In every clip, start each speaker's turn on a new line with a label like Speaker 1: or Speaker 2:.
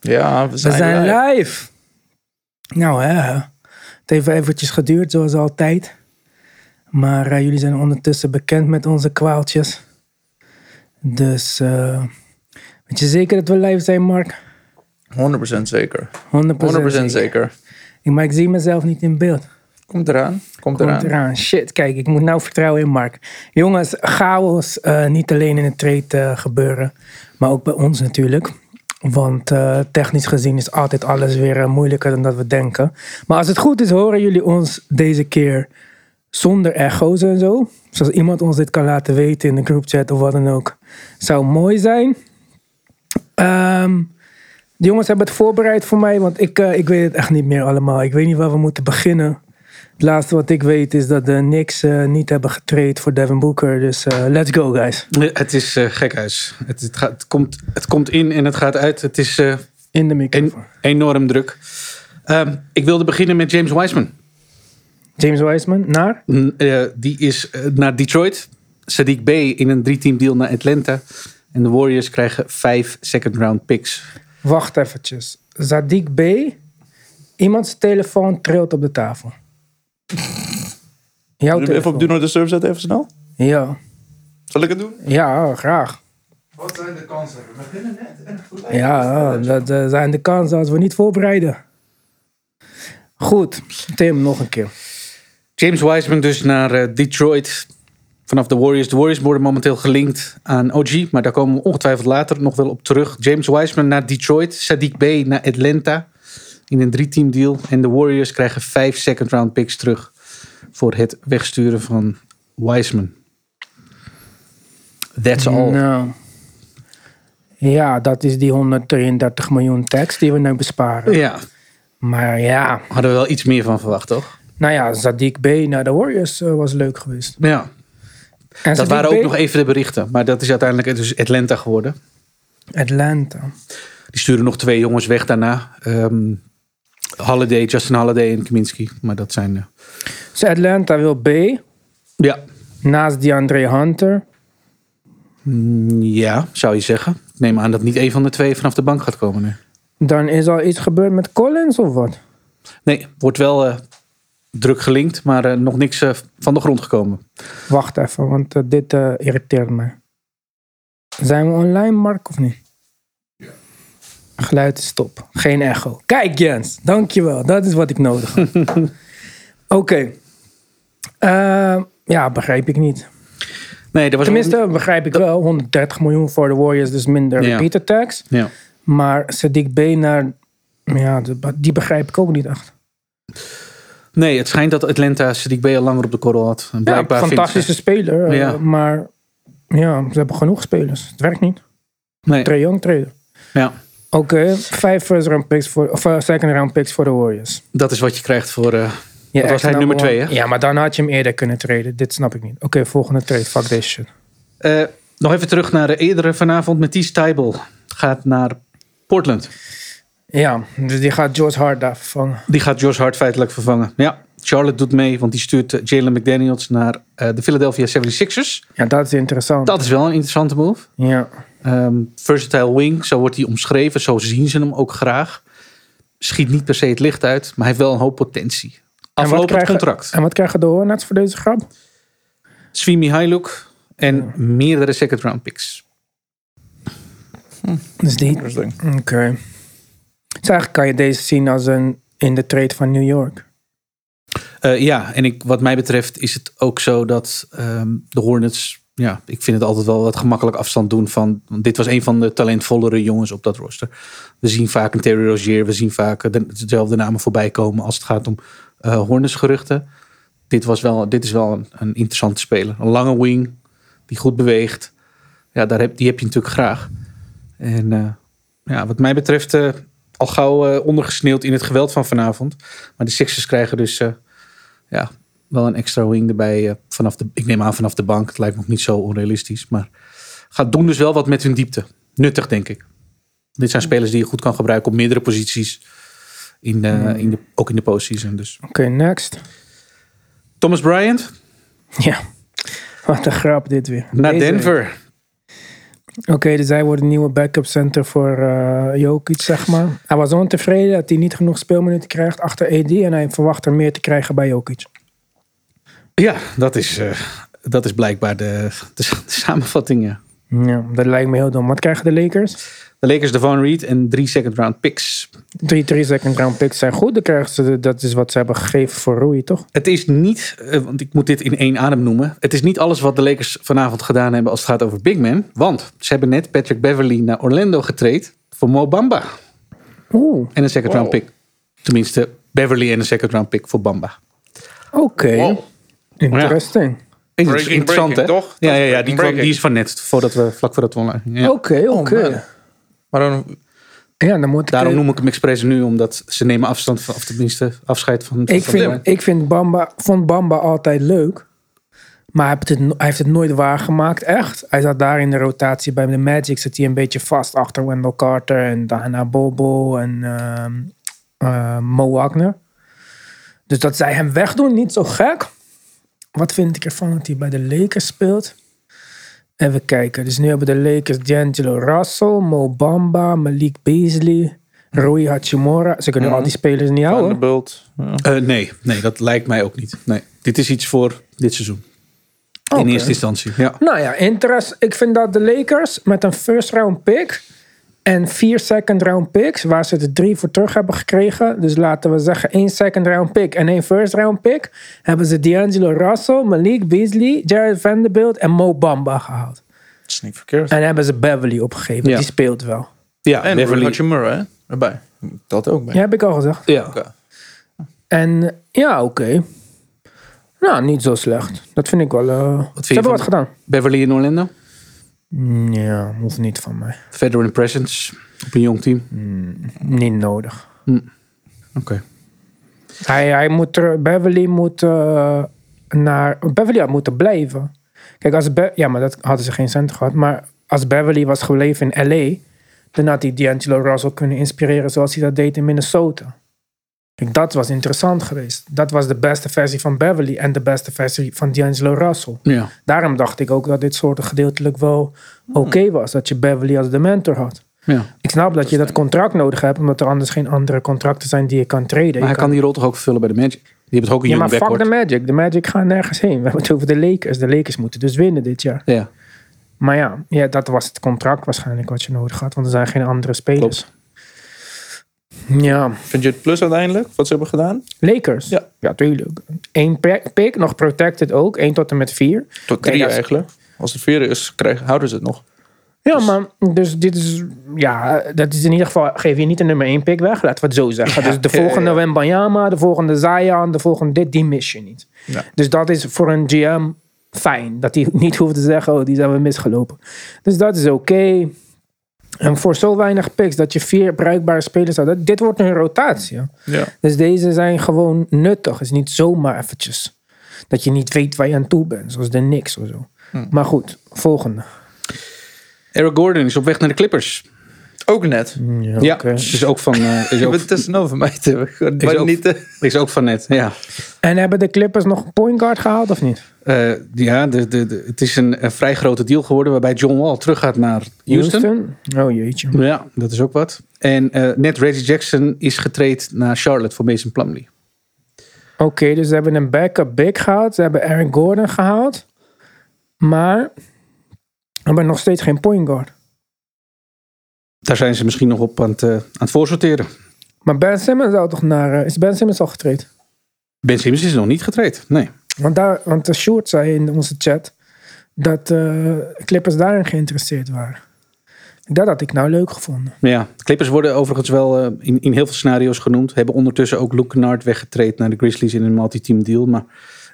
Speaker 1: Ja, we
Speaker 2: We
Speaker 1: zijn,
Speaker 2: zijn
Speaker 1: live.
Speaker 2: live. Nou, hè. Het heeft eventjes geduurd, zoals altijd. Maar eh, jullie zijn ondertussen bekend met onze kwaaltjes. Dus, eh, weet je zeker dat we live zijn, Mark?
Speaker 1: 100% zeker. 100%,
Speaker 2: 100%,
Speaker 1: zeker.
Speaker 2: Ik- Maar ik zie mezelf niet in beeld.
Speaker 1: Komt eraan. Komt,
Speaker 2: Komt
Speaker 1: eraan.
Speaker 2: eraan. Shit, kijk, ik moet nou vertrouwen in Mark. Jongens, chaos eh, niet alleen in het trade eh, gebeuren, maar ook bij ons natuurlijk. Want eh, technisch gezien is altijd alles weer eh, moeilijker dan dat we denken. Maar als het goed is, horen jullie ons deze keer zonder echo's en zo. Dus als iemand ons dit kan laten weten in de groupchat of wat dan ook, zou mooi zijn. Ehm, de jongens hebben het voorbereid voor mij, want ik, eh, ik weet het echt niet meer allemaal. Ik weet niet waar we moeten beginnen. Het laatste wat ik weet is dat de Knicks eh, niet hebben getraind voor Devin Booker. Dus eh, let's go, guys.
Speaker 3: Het is eh, gek gekhuis. Het, het, gaat, het, komt, het komt in en het gaat uit. Het is eh,
Speaker 2: In de microfoon.
Speaker 3: en- enorm druk. Ehm, ik wilde beginnen met James Wiseman.
Speaker 2: James Wiseman, naar?
Speaker 3: Mm, eh, die is eh, naar Detroit. Sadiq B in een drie-team deal naar Atlanta. En de Warriors krijgen vijf second-round picks.
Speaker 2: Wacht eventjes. Zadik B. Iemands telefoon trilt op de tafel. Jouw
Speaker 1: Zullen we even
Speaker 2: telefoon.
Speaker 1: op Do Not Disturb zetten, even snel?
Speaker 2: Ja.
Speaker 1: Zal ik het doen?
Speaker 2: ja, graag.
Speaker 1: Wat zijn de kansen? We beginnen net en goed
Speaker 2: Ja, dat eh, zijn de kansen als we niet voorbereiden. Goed, Tim, nog een keer.
Speaker 3: James Wiseman dus naar eh, Detroit. Vanaf de Warriors. De Warriors worden momenteel gelinkt aan OG. Maar daar komen we ongetwijfeld later nog wel op terug. James Wiseman naar Detroit. Sadiq Bey naar Atlanta. In een drie-team deal. En de Warriors krijgen vijf second-round picks terug. Voor het wegsturen van Wiseman. That's all.
Speaker 2: Nou. Ja, dat is die 133 miljoen tax die we nu besparen.
Speaker 3: Ja,
Speaker 2: Maar ja,
Speaker 3: hadden we wel iets meer van verwacht, toch?
Speaker 2: nou ja, Zadik B naar de Warriors eh, was leuk geweest.
Speaker 3: Ja.
Speaker 2: En
Speaker 3: Dat
Speaker 2: Sadiq
Speaker 3: waren
Speaker 2: Bey-
Speaker 3: ook nog even de berichten. Maar dat is uiteindelijk dus Atlanta geworden. e-
Speaker 2: Atlanta.
Speaker 3: Die sturen nog twee jongens weg daarna. Ehm Holiday, Justin Holiday en Kaminsky. Maar dat zijn... eh,
Speaker 2: Dus Atlanta wil B
Speaker 3: ja.
Speaker 2: naast DeAndre Hunter.
Speaker 3: Mm, ja, zou je zeggen. Ik neem aan dat niet één van de twee vanaf de bank gaat komen. Nee,
Speaker 2: Dan is al iets gebeurd met Collins of wat?
Speaker 3: nee wordt wel eh, druk gelinkt, maar eh, nog niks eh, van de grond gekomen.
Speaker 2: Wacht even, want eh, dit eh, irriteert mij. Zijn we online, Mark, of niet? Ja. Geluid is top. Geen echo. Kijk, Jens. Dankjewel. Dat is wat ik nodig had. Oké. Eh, ja, begrijp ik niet.
Speaker 3: Nee, er was
Speaker 2: Tenminste, begrijp ik wel. 130 miljoen voor de Warriors, dus minder
Speaker 3: Ja.
Speaker 2: repeater tax.
Speaker 3: Ja.
Speaker 2: Maar Sadiq B naar... Ja, de- die begrijp ik ook niet echt.
Speaker 3: Nee, het schijnt dat Atlanta Sadiq Bey al langer op de korrel had. En
Speaker 2: Ja,
Speaker 3: blijkbaar vindt
Speaker 2: fantastische
Speaker 3: ze-
Speaker 2: speler. eh,
Speaker 3: Ja.
Speaker 2: Maar ja, ze hebben genoeg spelers. Het werkt niet.
Speaker 3: Nee,
Speaker 2: Trae Young traden.
Speaker 3: ja,
Speaker 2: Oké, vijf first round picks voor, of eh, second round picks voor de Warriors.
Speaker 3: dat is wat je krijgt voor... eh,
Speaker 2: Ja,
Speaker 3: Dat was
Speaker 2: echt
Speaker 3: hij nummer
Speaker 2: number one.
Speaker 3: twee, hè?
Speaker 2: Ja, maar dan had je hem eerder kunnen traden. Dit snap ik niet. Oké, volgende trade. Fuck this shit.
Speaker 3: Eh, nog even terug naar de eerdere vanavond. Matisse Tybel gaat naar Portland.
Speaker 2: Ja, dus die gaat George Hart daar vervangen.
Speaker 3: Die gaat Josh Hart feitelijk vervangen. Ja, Charlotte doet mee, want die stuurt eh, Jalen McDaniels naar eh, de Philadelphia 76ers.
Speaker 2: Ja, dat is interessant.
Speaker 3: Dat is wel een interessante move.
Speaker 2: Ja.
Speaker 3: Ehm, versatile wing, zo wordt hij omschreven. Zo zien ze hem ook graag. Schiet niet per se het licht uit, maar hij heeft wel een hoop potentie.
Speaker 2: En wat
Speaker 3: Aflopend
Speaker 2: krijgen-
Speaker 3: contract.
Speaker 2: En wat krijgen de Hornets voor deze grap?
Speaker 3: Swimi Hailuk en meerdere second round picks.
Speaker 2: Dus die. Oké.
Speaker 1: Interesting.
Speaker 2: Dus eigenlijk kan je deze zien als een in de trade van New York.
Speaker 3: Eh, ja, en ik, wat mij betreft is het ook zo dat ehm, de Hornets... Ja, ik vind het altijd wel wat gemakkelijk afstand doen van... Want dit was een van de talentvollere jongens op dat rooster. We zien vaak een Terry Rozier. We zien vaak eh, de- dezelfde namen voorbij komen als het gaat om eh Hornets-geruchten. Dit, was wel, dit is wel een, een interessante speler. Een lange wing die goed beweegt. Ja, daar heb, die heb je natuurlijk graag. En eh, ja, wat mij betreft eh, al gauw eh, ondergesneeuwd in het geweld van vanavond. Maar de Sixers krijgen dus... eh, ja, wel een extra wing erbij. eh, vanaf de, ik neem aan vanaf de bank. Het lijkt me ook niet zo onrealistisch. Maar gaat doen dus wel wat met hun diepte. Nuttig, denk ik. Dit zijn spelers die je goed kan gebruiken op meerdere posities. In de, in de, ook in de postseason dus.
Speaker 2: Oké, next.
Speaker 3: Thomas Bryant
Speaker 2: Ja. Wat een grap dit weer.
Speaker 3: naar
Speaker 2: Deze
Speaker 3: Denver.
Speaker 2: Oké, dus hij wordt een nieuwe backup center voor eh Jokic, zeg maar. Hij was ontevreden dat hij niet genoeg speelminuten krijgt achter AD. En hij verwacht er meer te krijgen bij Jokic.
Speaker 3: Ja, dat is, eh, dat is blijkbaar de, de, de samenvatting. ja.
Speaker 2: Ja, dat lijkt me heel dom. Wat krijgen de Lakers?
Speaker 3: De Lakers, Devon Reed en drie second round picks.
Speaker 2: Drie, drie second round picks zijn goed. Dan krijgen ze, de- dat is wat ze hebben gegeven voor Rui, toch?
Speaker 3: Het is niet, eh, want ik moet dit in één adem noemen. Het is niet alles wat de Lakers vanavond gedaan hebben als het gaat over Big Man. Want ze hebben net Patrick Beverly naar Orlando getraind voor Mo Bamba.
Speaker 2: Oeh,
Speaker 3: En een second round pick. Tenminste, Beverly en een second round pick voor Bamba.
Speaker 2: oké.
Speaker 1: Oh.
Speaker 4: Wow.
Speaker 2: Interesting.
Speaker 4: Breaking,
Speaker 3: Interessant,
Speaker 4: breaking,
Speaker 3: hè?
Speaker 4: toch?
Speaker 3: Ja, ja, ja
Speaker 4: Breaking,
Speaker 3: die, kwam,
Speaker 4: breaking.
Speaker 3: die is van net, voordat we, vlak voordat we online gingen. Ja.
Speaker 2: Oké,
Speaker 1: Oh, man.
Speaker 2: oké.
Speaker 1: Maar dan,
Speaker 2: Ja, dan moet ik...
Speaker 3: Daarom noem ik hem expres nu, omdat ze nemen afstand van, of tenminste afscheid van.
Speaker 2: Ik,
Speaker 3: van
Speaker 2: vind,
Speaker 3: Bamba.
Speaker 2: ik vind Bamba, vond Bamba altijd leuk. Maar hij heeft, het, no- hij heeft het nooit waargemaakt, echt. Hij zat daar in de rotatie bij de Magic. Zat hij een beetje vast achter Wendell Carter en daarna Bobo en ehm, eh, Mo Wagner. Dus dat zij hem wegdoen, niet zo gek. Wat vind ik ervan dat hij bij de Lakers speelt? Even kijken. Dus nu hebben de Lakers D'Angelo Russell, Mo Bamba, Malik Beasley, Rui Hachimura. Ze kunnen al die spelers niet houden.
Speaker 1: Vanderbilt. Ja.
Speaker 2: Oh.
Speaker 3: Eh, nee, nee, dat lijkt mij ook niet. Nee, dit is iets voor dit seizoen. In
Speaker 2: Oh, Oké.
Speaker 3: eerste instantie. Ja.
Speaker 2: Nou ja, interest. Ik vind dat de Lakers met een first round pick en vier second round picks, waar ze er drie voor terug hebben gekregen. Dus laten we zeggen één second round pick en één first round pick, hebben ze D'Angelo Russell, Malik Beasley, Jared Vanderbilt en Mo Bamba gehaald.
Speaker 1: Dat is niet verkeerd.
Speaker 2: En hebben ze Beverly opgegeven.
Speaker 3: Ja.
Speaker 2: Die speelt wel.
Speaker 3: Ja,
Speaker 1: En
Speaker 3: Beverly.
Speaker 1: Roger Murray, hè? Erbij. Dat ook bij.
Speaker 2: Ja, heb ik al gezegd.
Speaker 3: Ja.
Speaker 1: Oké.
Speaker 2: En ja, oké. Nou, niet zo slecht. Dat vind ik wel. eh,
Speaker 3: je
Speaker 2: ze hebben wat
Speaker 3: van-
Speaker 2: gedaan.
Speaker 3: Beverly in Orlando.
Speaker 2: Ja, hoeft niet van mij.
Speaker 3: Veteran presence op een jong team.
Speaker 2: Niet nodig.
Speaker 3: Oké.
Speaker 2: Hij, hij moet ter- Beverly moet eh, naar. Beverly had moeten blijven. Kijk, als Be- ja, maar dat hadden ze geen cent gehad. Maar als Beverly was gebleven in LA, dan had hij D'Angelo Russell kunnen inspireren zoals hij dat deed in Minnesota. Kijk, dat was interessant geweest. Dat was de beste versie van Beverly en de beste versie van D'Angelo Russell.
Speaker 3: Ja.
Speaker 2: Daarom dacht ik ook dat dit soort gedeeltelijk wel
Speaker 3: Hmm.
Speaker 2: oké was. Dat je Beverly als de mentor had.
Speaker 3: ja.
Speaker 2: Ik snap dat je dat contract nodig hebt, omdat er anders geen andere contracten zijn die je kan treden. Je
Speaker 3: Maar hij kan die rol toch ook vervullen bij de Magic? Die hebben toch ook een
Speaker 2: ja,
Speaker 3: jong
Speaker 2: maar fuck
Speaker 3: backcourt?
Speaker 2: de Magic. De Magic gaan nergens heen. We hebben het over de Lakers. De Lakers moeten dus winnen dit jaar.
Speaker 3: Ja.
Speaker 2: Maar ja, ja dat was het contract waarschijnlijk wat je nodig had. Want er zijn geen andere spelers. Ja,
Speaker 1: Vind je het plus uiteindelijk, wat ze hebben gedaan?
Speaker 2: Lakers.
Speaker 1: Ja.
Speaker 2: tuurlijk. Eén pe- pick, nog protected ook. Eén tot en met vier.
Speaker 1: Tot
Speaker 2: Nee,
Speaker 1: drie
Speaker 2: dat is-
Speaker 1: eigenlijk. Als het vier is, krijgen, houden ze het nog.
Speaker 2: Ja, maar dus dit is... Ja, dat is in ieder geval... Geef je niet een nummer één pick weg. Laten we het zo zeggen. dus de volgende Wembanyama, de volgende Zion, de volgende dit, die mis je niet.
Speaker 1: Ja.
Speaker 2: Dus dat is voor een GM fijn. Dat hij niet hoeft te zeggen, oh, die zijn we misgelopen. Dus dat is oké. En voor zo weinig picks dat je vier bruikbare spelers had. dat- Dit wordt een rotatie. ja.
Speaker 1: Ja.
Speaker 2: Dus deze zijn gewoon nuttig. Het is niet zomaar eventjes. Dat je niet weet waar je aan toe bent. Zoals de Knicks of zo. Maar goed, volgende.
Speaker 3: Eric Gordon is op weg naar de Clippers.
Speaker 1: Ook net.
Speaker 2: Ja,
Speaker 3: Ja.
Speaker 2: oké.
Speaker 3: Is ook van. eh, is,
Speaker 1: Je
Speaker 3: ook,
Speaker 1: bent tegenover mij te hebben.
Speaker 3: is,
Speaker 1: Maar
Speaker 3: ook,
Speaker 1: niet te...
Speaker 3: is ook van net. Ja.
Speaker 2: En hebben de Clippers nog een point guard gehaald of niet?
Speaker 3: Eh, ja, de, de, de- het is een, eh, vrij grote deal geworden waarbij John Wall terug gaat naar Houston.
Speaker 2: Oh jeetje.
Speaker 3: Ja, dat is ook wat. En eh, net Reggie Jackson is getraind naar Charlotte voor Mason Plumlee.
Speaker 2: Oké, dus ze hebben een backup big gehaald. Ze hebben Aaron Gordon gehaald. Maar hebben nog steeds geen point guard.
Speaker 3: Daar zijn ze misschien nog op aan het, eh, aan het voorsorteren.
Speaker 2: Maar Ben Simmons zou toch naar... eh, is Ben Simmons al getraind?
Speaker 3: Ben Simmons is nog niet getraind. Nee.
Speaker 2: Want, daar, want de Short zei in onze chat dat eh, Clippers daarin geïnteresseerd waren. Dat had ik nou leuk gevonden.
Speaker 3: Ja, de Clippers worden overigens wel eh, in, in heel veel scenario's genoemd. Hebben ondertussen ook Luke Kennard weggetraind naar de Grizzlies in een multi-team deal. Maar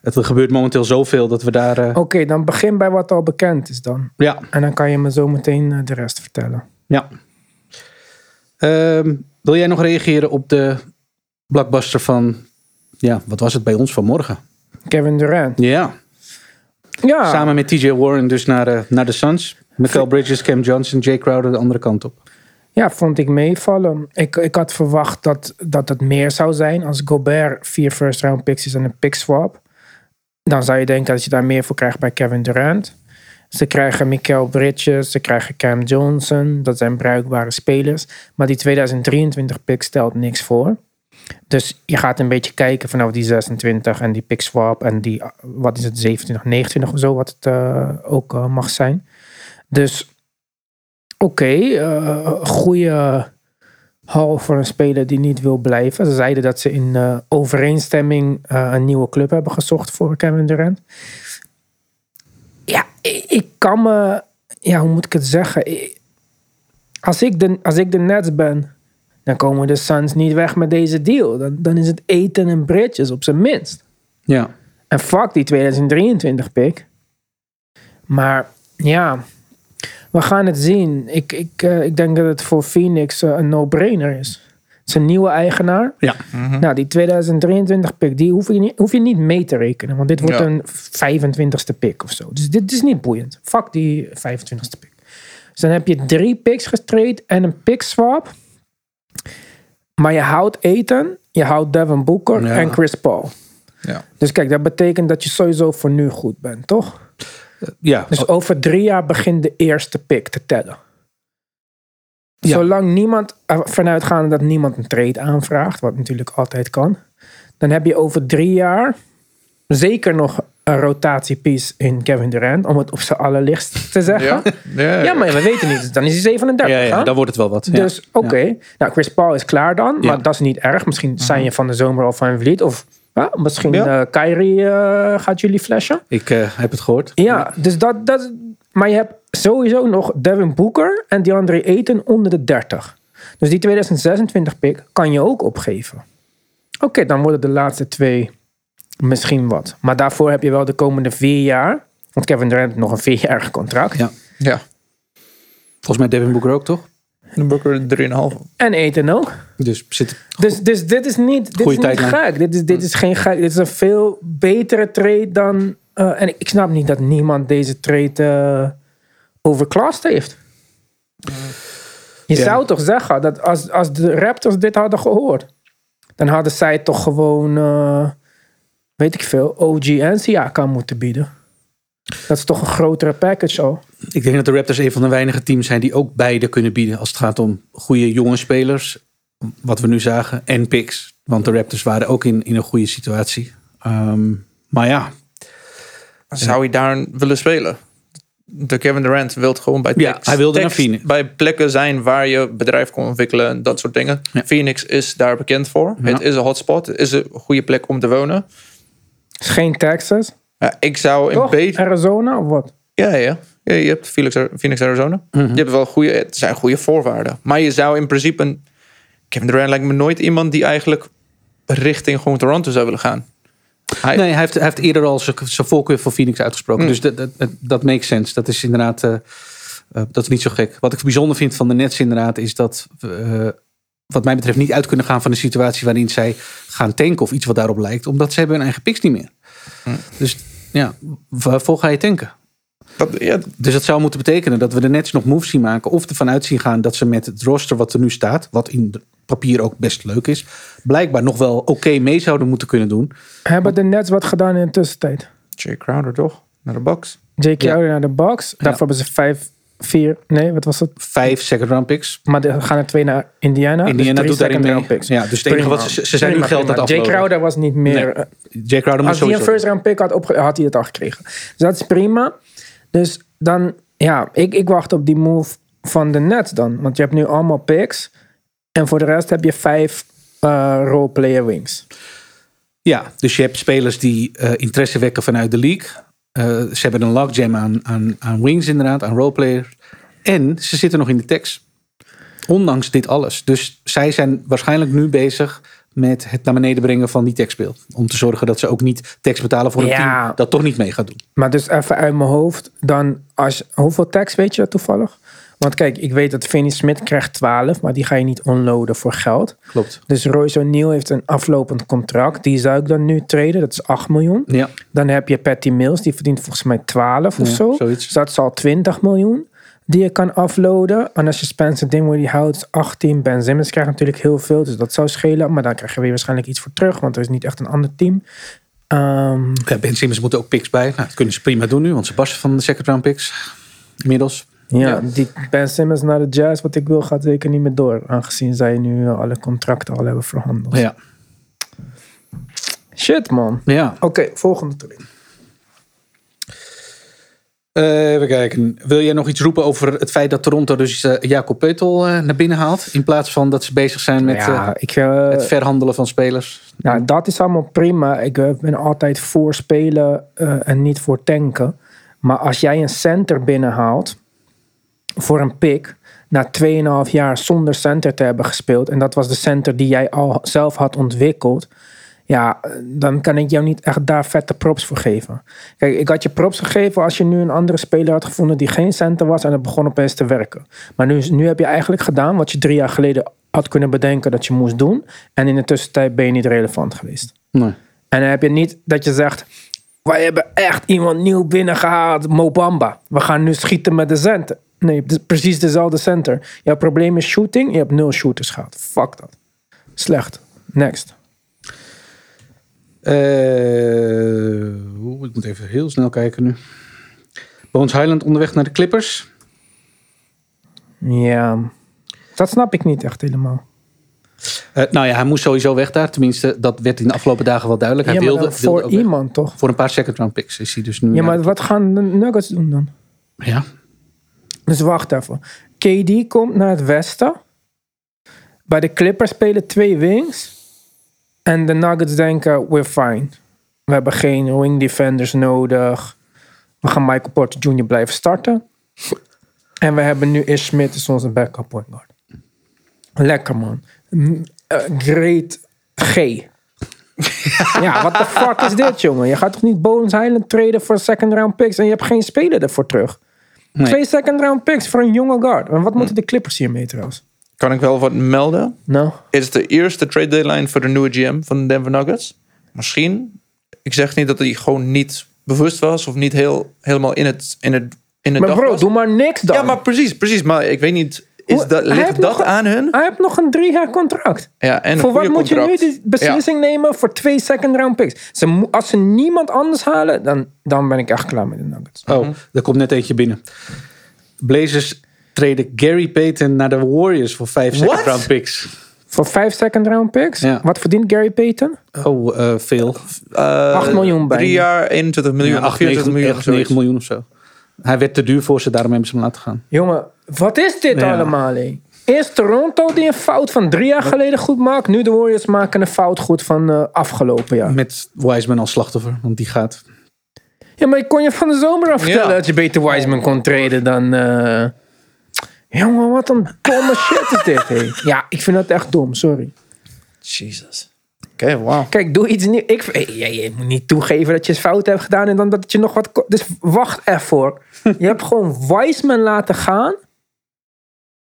Speaker 3: het, er gebeurt momenteel zoveel dat we daar... eh,
Speaker 2: Oké, dan begin bij wat al bekend is dan.
Speaker 3: Ja,
Speaker 2: En dan kan je me zo meteen eh, de rest vertellen.
Speaker 3: ja. Ehm, wil jij nog reageren op de blockbuster van... Ja, wat was het bij ons vanmorgen?
Speaker 2: Kevin Durant.
Speaker 3: Ja,
Speaker 2: Ja.
Speaker 3: Ah. Samen met TJ Warren dus naar, eh, naar de Suns. Mikael Bridges, Cam Johnson, Jay Crowder de andere kant op.
Speaker 2: Ja, vond ik meevallen. Ik, ik had verwacht dat, dat het meer zou zijn. Als Gobert vier first round picks is en een pick swap. Dan zou je denken dat je daar meer voor krijgt bij Kevin Durant. Ze krijgen Mikael Bridges, ze krijgen Cam Johnson. Dat zijn bruikbare spelers. Maar die 2023 pick stelt niks voor. Dus je gaat een beetje kijken vanaf die 26 en die pick swap en die, eh, wat is het, 27, 29 of zo, wat het eh, ook eh, mag zijn. Dus oké, eh, goede hal voor een speler die niet wil blijven. Ze zeiden dat ze in eh, overeenstemming eh, een nieuwe club hebben gezocht voor Kevin Durant. Ja, ik, ik kan me, ja, hoe moet ik het zeggen? Ik- als, ik de, als ik de Nets ben, dan komen de Suns niet weg met deze deal. Dan, dan is het eten en bridges op zijn minst.
Speaker 3: Ja.
Speaker 2: En fuck die 2023 pick. Maar ja, we gaan het zien. Ik, ik, eh, ik denk dat het voor Phoenix eh, een no-brainer is. Het is een nieuwe eigenaar.
Speaker 3: Ja.
Speaker 2: Nou, die 2023 pick, die hoef je niet, hoef je niet mee te rekenen. Want dit wordt
Speaker 1: Ja.
Speaker 2: een 25ste pick of zo. Dus dit is niet boeiend. Fuck die 25ste pick. Dus dan heb je drie picks gestraight en een pick swap. Maar je houdt Eten, je houdt Devin Booker
Speaker 3: Ja.
Speaker 2: en Chris Paul.
Speaker 1: Ja.
Speaker 2: Dus kijk, dat betekent dat je sowieso voor nu goed bent, toch?
Speaker 3: Ja.
Speaker 2: Dus over drie jaar begint de eerste pick te tellen.
Speaker 3: Ja.
Speaker 2: Zolang niemand, eh, vanuitgaande dat niemand een trade aanvraagt, wat natuurlijk altijd kan, dan heb je over drie jaar zeker nog een rotatiepiece in Kevin Durant, om het op zijn allerlichtst te zeggen.
Speaker 1: Ja?
Speaker 2: Ja,
Speaker 1: Ja.
Speaker 2: maar we weten niet, dus dan is hij 37.
Speaker 3: ja, ja,
Speaker 2: hè?
Speaker 3: dan wordt het wel wat. ja. Mhm.
Speaker 2: Dus oké, nou Chris Paul is klaar dan, maar dat is niet erg. Misschien zijn je van de zomer al van Vliet of ja, misschien eh
Speaker 1: Ja.
Speaker 2: Kyrie eh, gaat jullie flashen.
Speaker 3: Ik eh, heb het gehoord.
Speaker 2: Ja, dus dat, dat. Maar je hebt sowieso nog Devin Booker en DeAndre Ayton onder de 30. Dus die 2026 pick kan je ook opgeven. Oké, dan worden de laatste twee misschien wat. Maar daarvoor heb je wel de komende vier jaar. Want Kevin Durant heeft nog een vierjarig contract.
Speaker 3: Ja.
Speaker 1: ja.
Speaker 3: Volgens mij Devin Booker ook, toch?
Speaker 1: Dan Booker 3,5.
Speaker 2: En Ayton ook.
Speaker 3: Dus zit...
Speaker 2: Dus, dus dit is niet, dit is
Speaker 3: Goeie
Speaker 2: niet
Speaker 3: tijdlijn.
Speaker 2: gek. Dit is, dit is geen gek. Dit is een veel betere trade dan... eh, en ik, ik snap niet dat niemand deze trade eh overklast heeft. Je
Speaker 3: Ja.
Speaker 2: zou toch zeggen dat als, als de Raptors dit hadden gehoord... dan hadden zij toch gewoon... eh, weet ik veel, OG en Siakam moeten bieden. Dat is toch een grotere package al.
Speaker 3: Ik denk dat de Raptors een van de weinige teams zijn die ook beide kunnen bieden. Als het gaat om goede jonge spelers, wat we nu zagen, en picks. Want de Raptors waren ook in, in een goede situatie. Ehm, maar ja,
Speaker 1: Zou je daar willen spelen? De Kevin Durant wil gewoon bij,
Speaker 3: Ja,
Speaker 1: tekst-
Speaker 3: hij wilde naar
Speaker 1: tekst
Speaker 3: Phoenix.
Speaker 1: bij plekken zijn waar je bedrijf kon ontwikkelen en dat soort dingen.
Speaker 3: Ja.
Speaker 1: Phoenix is daar bekend voor.
Speaker 3: Ja.
Speaker 1: Het is een hotspot. Het is een goede plek om te wonen.
Speaker 2: Het is geen Texas.
Speaker 1: Ja, ik zou een
Speaker 2: Toch?
Speaker 1: beetje...
Speaker 2: Arizona of wat?
Speaker 1: Ja, ja. ja, je hebt Phoenix, Phoenix Arizona.
Speaker 3: Mhm.
Speaker 1: Je hebt wel goede, het zijn goede voorwaarden. Maar je zou in principe... Een, Kevin Durant lijkt me nooit iemand die eigenlijk richting gewoon Toronto zou willen gaan. Hij,
Speaker 3: nee, hij heeft, hij heeft eerder al zijn zijn voorkeur voor Phoenix uitgesproken. Dus dat, dat, dat- dat makes sense. Dat is inderdaad, eh, eh, dat is niet zo gek. Wat ik bijzonder vind van de Nets inderdaad, is dat we, eh, wat mij betreft niet uit kunnen gaan van de situatie waarin zij gaan tanken of iets wat daarop lijkt. Omdat ze hebben hun eigen picks niet meer. Dus ja, waarvoor ga je tanken?
Speaker 1: dat, ja,
Speaker 3: Dus dat zou moeten betekenen dat we de Nets nog moves zien maken. Of ervan uit zien gaan dat ze met het roster wat er nu staat. Wat in de papier ook best leuk is. Blijkbaar nog wel oké mee zouden moeten kunnen doen.
Speaker 2: Hebben de Nets wat gedaan in de tussentijd?
Speaker 1: Jay Crowder toch? Naar de box.
Speaker 2: J.K.
Speaker 3: Ja.
Speaker 2: naar de Bucks. Daarvoor hebben ze vijf, vier... Nee, wat was het?
Speaker 3: Vijf second round picks.
Speaker 2: Maar er gaan er twee naar Indiana. dus
Speaker 3: Indiana
Speaker 2: drie
Speaker 3: doet daarin
Speaker 2: second
Speaker 3: mee.
Speaker 2: round picks.
Speaker 3: Ja, dus het enige wat ze, ze zijn nu
Speaker 2: Prima,
Speaker 3: geld aan
Speaker 2: prima.
Speaker 3: het
Speaker 2: Jay
Speaker 3: aflopen.
Speaker 2: Crowder was niet meer... eh,
Speaker 3: Jay Crowder moet
Speaker 2: als hij een
Speaker 3: sowieso.
Speaker 2: first round pick had opge had hij het al gekregen. Dus dat is prima. Dus dan, ja, ik, ik wacht op die move van de Nets dan. Want je hebt nu allemaal picks. En voor de rest heb je vijf eh role player wings.
Speaker 3: Ja, dus je hebt spelers die eh, interesse wekken vanuit de league. Eh, ze hebben een logjam aan, aan, aan wings inderdaad, aan roleplayers. En ze zitten nog in de tekst. Ondanks dit alles. Dus zij zijn waarschijnlijk nu bezig met het naar beneden brengen van die tekstbeeld. Om te zorgen dat ze ook niet tekst betalen voor een
Speaker 2: Ja.
Speaker 3: team dat toch niet mee gaat doen.
Speaker 2: Maar dus even uit mijn hoofd, dan als, hoeveel tax weet je dat toevallig? Want kijk, ik weet dat Vinnie Smith krijgt 12, maar die ga je niet onloaden voor geld.
Speaker 3: Klopt.
Speaker 2: Dus Royce O'Neal heeft een aflopend contract. Die zou ik dan nu treden, dat is 8 miljoen.
Speaker 3: Ja,
Speaker 2: Dan heb je Patty Mills, die verdient volgens mij 12 of
Speaker 3: Ja,
Speaker 2: zo.
Speaker 3: zoiets.
Speaker 2: Dus dat is al 20 miljoen die je kan afloaden. En als je Spencer Dinwiddie houdt, is 18. Ben Simmons krijgt natuurlijk heel veel, dus dat zou schelen. Maar dan krijg je weer waarschijnlijk iets voor terug, want er is niet echt een ander team. Ehm,
Speaker 3: Ja, ben Simmons moet er ook picks bij. Nou, dat kunnen ze prima doen nu, want ze barsten van de second round picks. Inmiddels.
Speaker 2: ja,
Speaker 1: Ja.
Speaker 2: die Ben Simmons naar de Jazz, wat ik wil, gaat zeker niet meer door. Aangezien zij nu eh, alle contracten al hebben verhandeld.
Speaker 3: Ja.
Speaker 2: Shit, man.
Speaker 3: ja.
Speaker 2: Oké, volgende trade.
Speaker 3: Eh, even kijken. Wil jij nog iets roepen over het feit dat Toronto dus eh, Jacob Peutel eh, naar binnen haalt? In plaats van dat ze bezig zijn met eh,
Speaker 2: ja, ik, eh,
Speaker 3: het verhandelen van spelers.
Speaker 2: nou, dat is allemaal prima. Ik eh, ben altijd voor spelen eh, en niet voor tanken. Maar als jij een center binnenhaalt voor een pick na 2,5 jaar zonder center te hebben gespeeld en dat was de center die jij al zelf had ontwikkeld, ja, eh, dan kan ik jou niet echt daar vette props voor geven. Kijk, ik had je props gegeven als je nu een andere speler had gevonden die geen center was en het begon opeens te werken. Maar nu, is- nu heb je eigenlijk gedaan wat je drie jaar geleden had kunnen bedenken dat je moest doen en in de tussentijd ben je niet relevant geweest.
Speaker 3: Nee.
Speaker 2: En dan heb je niet dat je zegt. Wij hebben echt iemand nieuw binnengehaald, Mobamba. We gaan nu schieten met de center. Nee, je hebt de- precies dezelfde center. Jouw probleem is shooting, je hebt nul shooters gehad. Fuck dat. Slecht. Next.
Speaker 3: Eh, oeh, ik moet even heel snel kijken nu. Bones Highland onderweg naar de Clippers.
Speaker 2: Ja. Dat snap ik niet echt helemaal.
Speaker 3: Eh, nou ja, hij moest sowieso weg daar. Tenminste, dat werd in de afgelopen dagen wel duidelijk. Hij
Speaker 2: Ja, maar
Speaker 3: wilde,
Speaker 2: dan
Speaker 3: wilde
Speaker 2: voor
Speaker 3: ook weg.
Speaker 2: iemand toch?
Speaker 3: Voor een paar second round picks is hij dus nu.
Speaker 2: Ja, maar wat gaan de Nuggets doen dan?
Speaker 3: ja.
Speaker 2: Dus wacht even. KD komt naar het westen. Bij de Clippers spelen twee wings. En de Nuggets denken, we're fine. We hebben geen wing defenders nodig. We gaan Michael Porter Jr. blijven starten. En we hebben nu Ish Smith is onze backup point guard. Lekker man. M- eh, great G. ja, wat de fuck is dit jongen? Je gaat toch niet Bones Island traden voor second round picks en je hebt geen speler ervoor terug?
Speaker 3: Nee.
Speaker 2: Twee second round picks voor een jonge guard. En wat moeten de Clippers hiermee trouwens?
Speaker 1: Kan ik wel wat melden?
Speaker 2: Nou,
Speaker 1: Het is de eerste trade deadline voor de nieuwe GM van de Denver Nuggets. Misschien. Ik zeg niet dat hij gewoon niet bewust was of niet heel, helemaal in het, in het, in het
Speaker 2: maar
Speaker 1: dag
Speaker 2: bro,
Speaker 1: was.
Speaker 2: doe maar niks dan.
Speaker 1: Ja, maar precies, precies. Maar ik weet niet, is
Speaker 2: Hoe-
Speaker 1: dat,
Speaker 2: hij heeft
Speaker 1: ligt dat
Speaker 2: nog-
Speaker 1: aan hun?
Speaker 2: Hij heeft nog een drie jaar contract.
Speaker 1: Ja, en een
Speaker 2: voor wat
Speaker 1: goede
Speaker 2: moet je nu
Speaker 1: contract.
Speaker 2: die beslissing nemen voor twee second round picks? Ze, mo- als ze niemand anders halen, dan, dan ben ik echt klaar met de Nuggets.
Speaker 3: Oh, er komt net eentje binnen. Blazers treden Gary Payton naar de Warriors voor vijf second
Speaker 1: What?
Speaker 3: round picks.
Speaker 2: Voor vijf second round picks?
Speaker 3: Ja.
Speaker 2: Wat verdient Gary Payton?
Speaker 3: Oh, eh, veel.
Speaker 1: Eh,
Speaker 2: 8 miljoen bijna.
Speaker 1: Drie jaar, 21 miljoen,
Speaker 3: Ja, 8,
Speaker 1: 40
Speaker 3: 9,
Speaker 1: miljoen.
Speaker 3: 8,
Speaker 1: of
Speaker 3: 9
Speaker 1: zoiets.
Speaker 3: miljoen of zo. Hij werd te duur voor ze, daarom hebben ze hem laten gaan.
Speaker 2: Jongen, wat is dit
Speaker 3: Ja.
Speaker 2: allemaal? hé? Eerst Toronto die een fout van drie jaar geleden goed maakt. Nu de Warriors maken een fout goed van eh, afgelopen jaar.
Speaker 3: Met Wiseman als slachtoffer, want die gaat.
Speaker 2: Ja, maar ik kon je van de zomer af vertellen
Speaker 1: Ja.
Speaker 2: dat je beter Wiseman kon treden dan... eh, Jongen, wat een domme shit is dit, hé. Ja, ik vind dat echt dom, sorry.
Speaker 1: Jesus. Oké, wauw.
Speaker 2: Kijk, doe iets nieuws. Ik, hey, je, je moet niet toegeven dat je fout hebt gedaan en dan dat je nog wat... ko- Dus wacht ervoor. Je hebt gewoon Wiseman laten gaan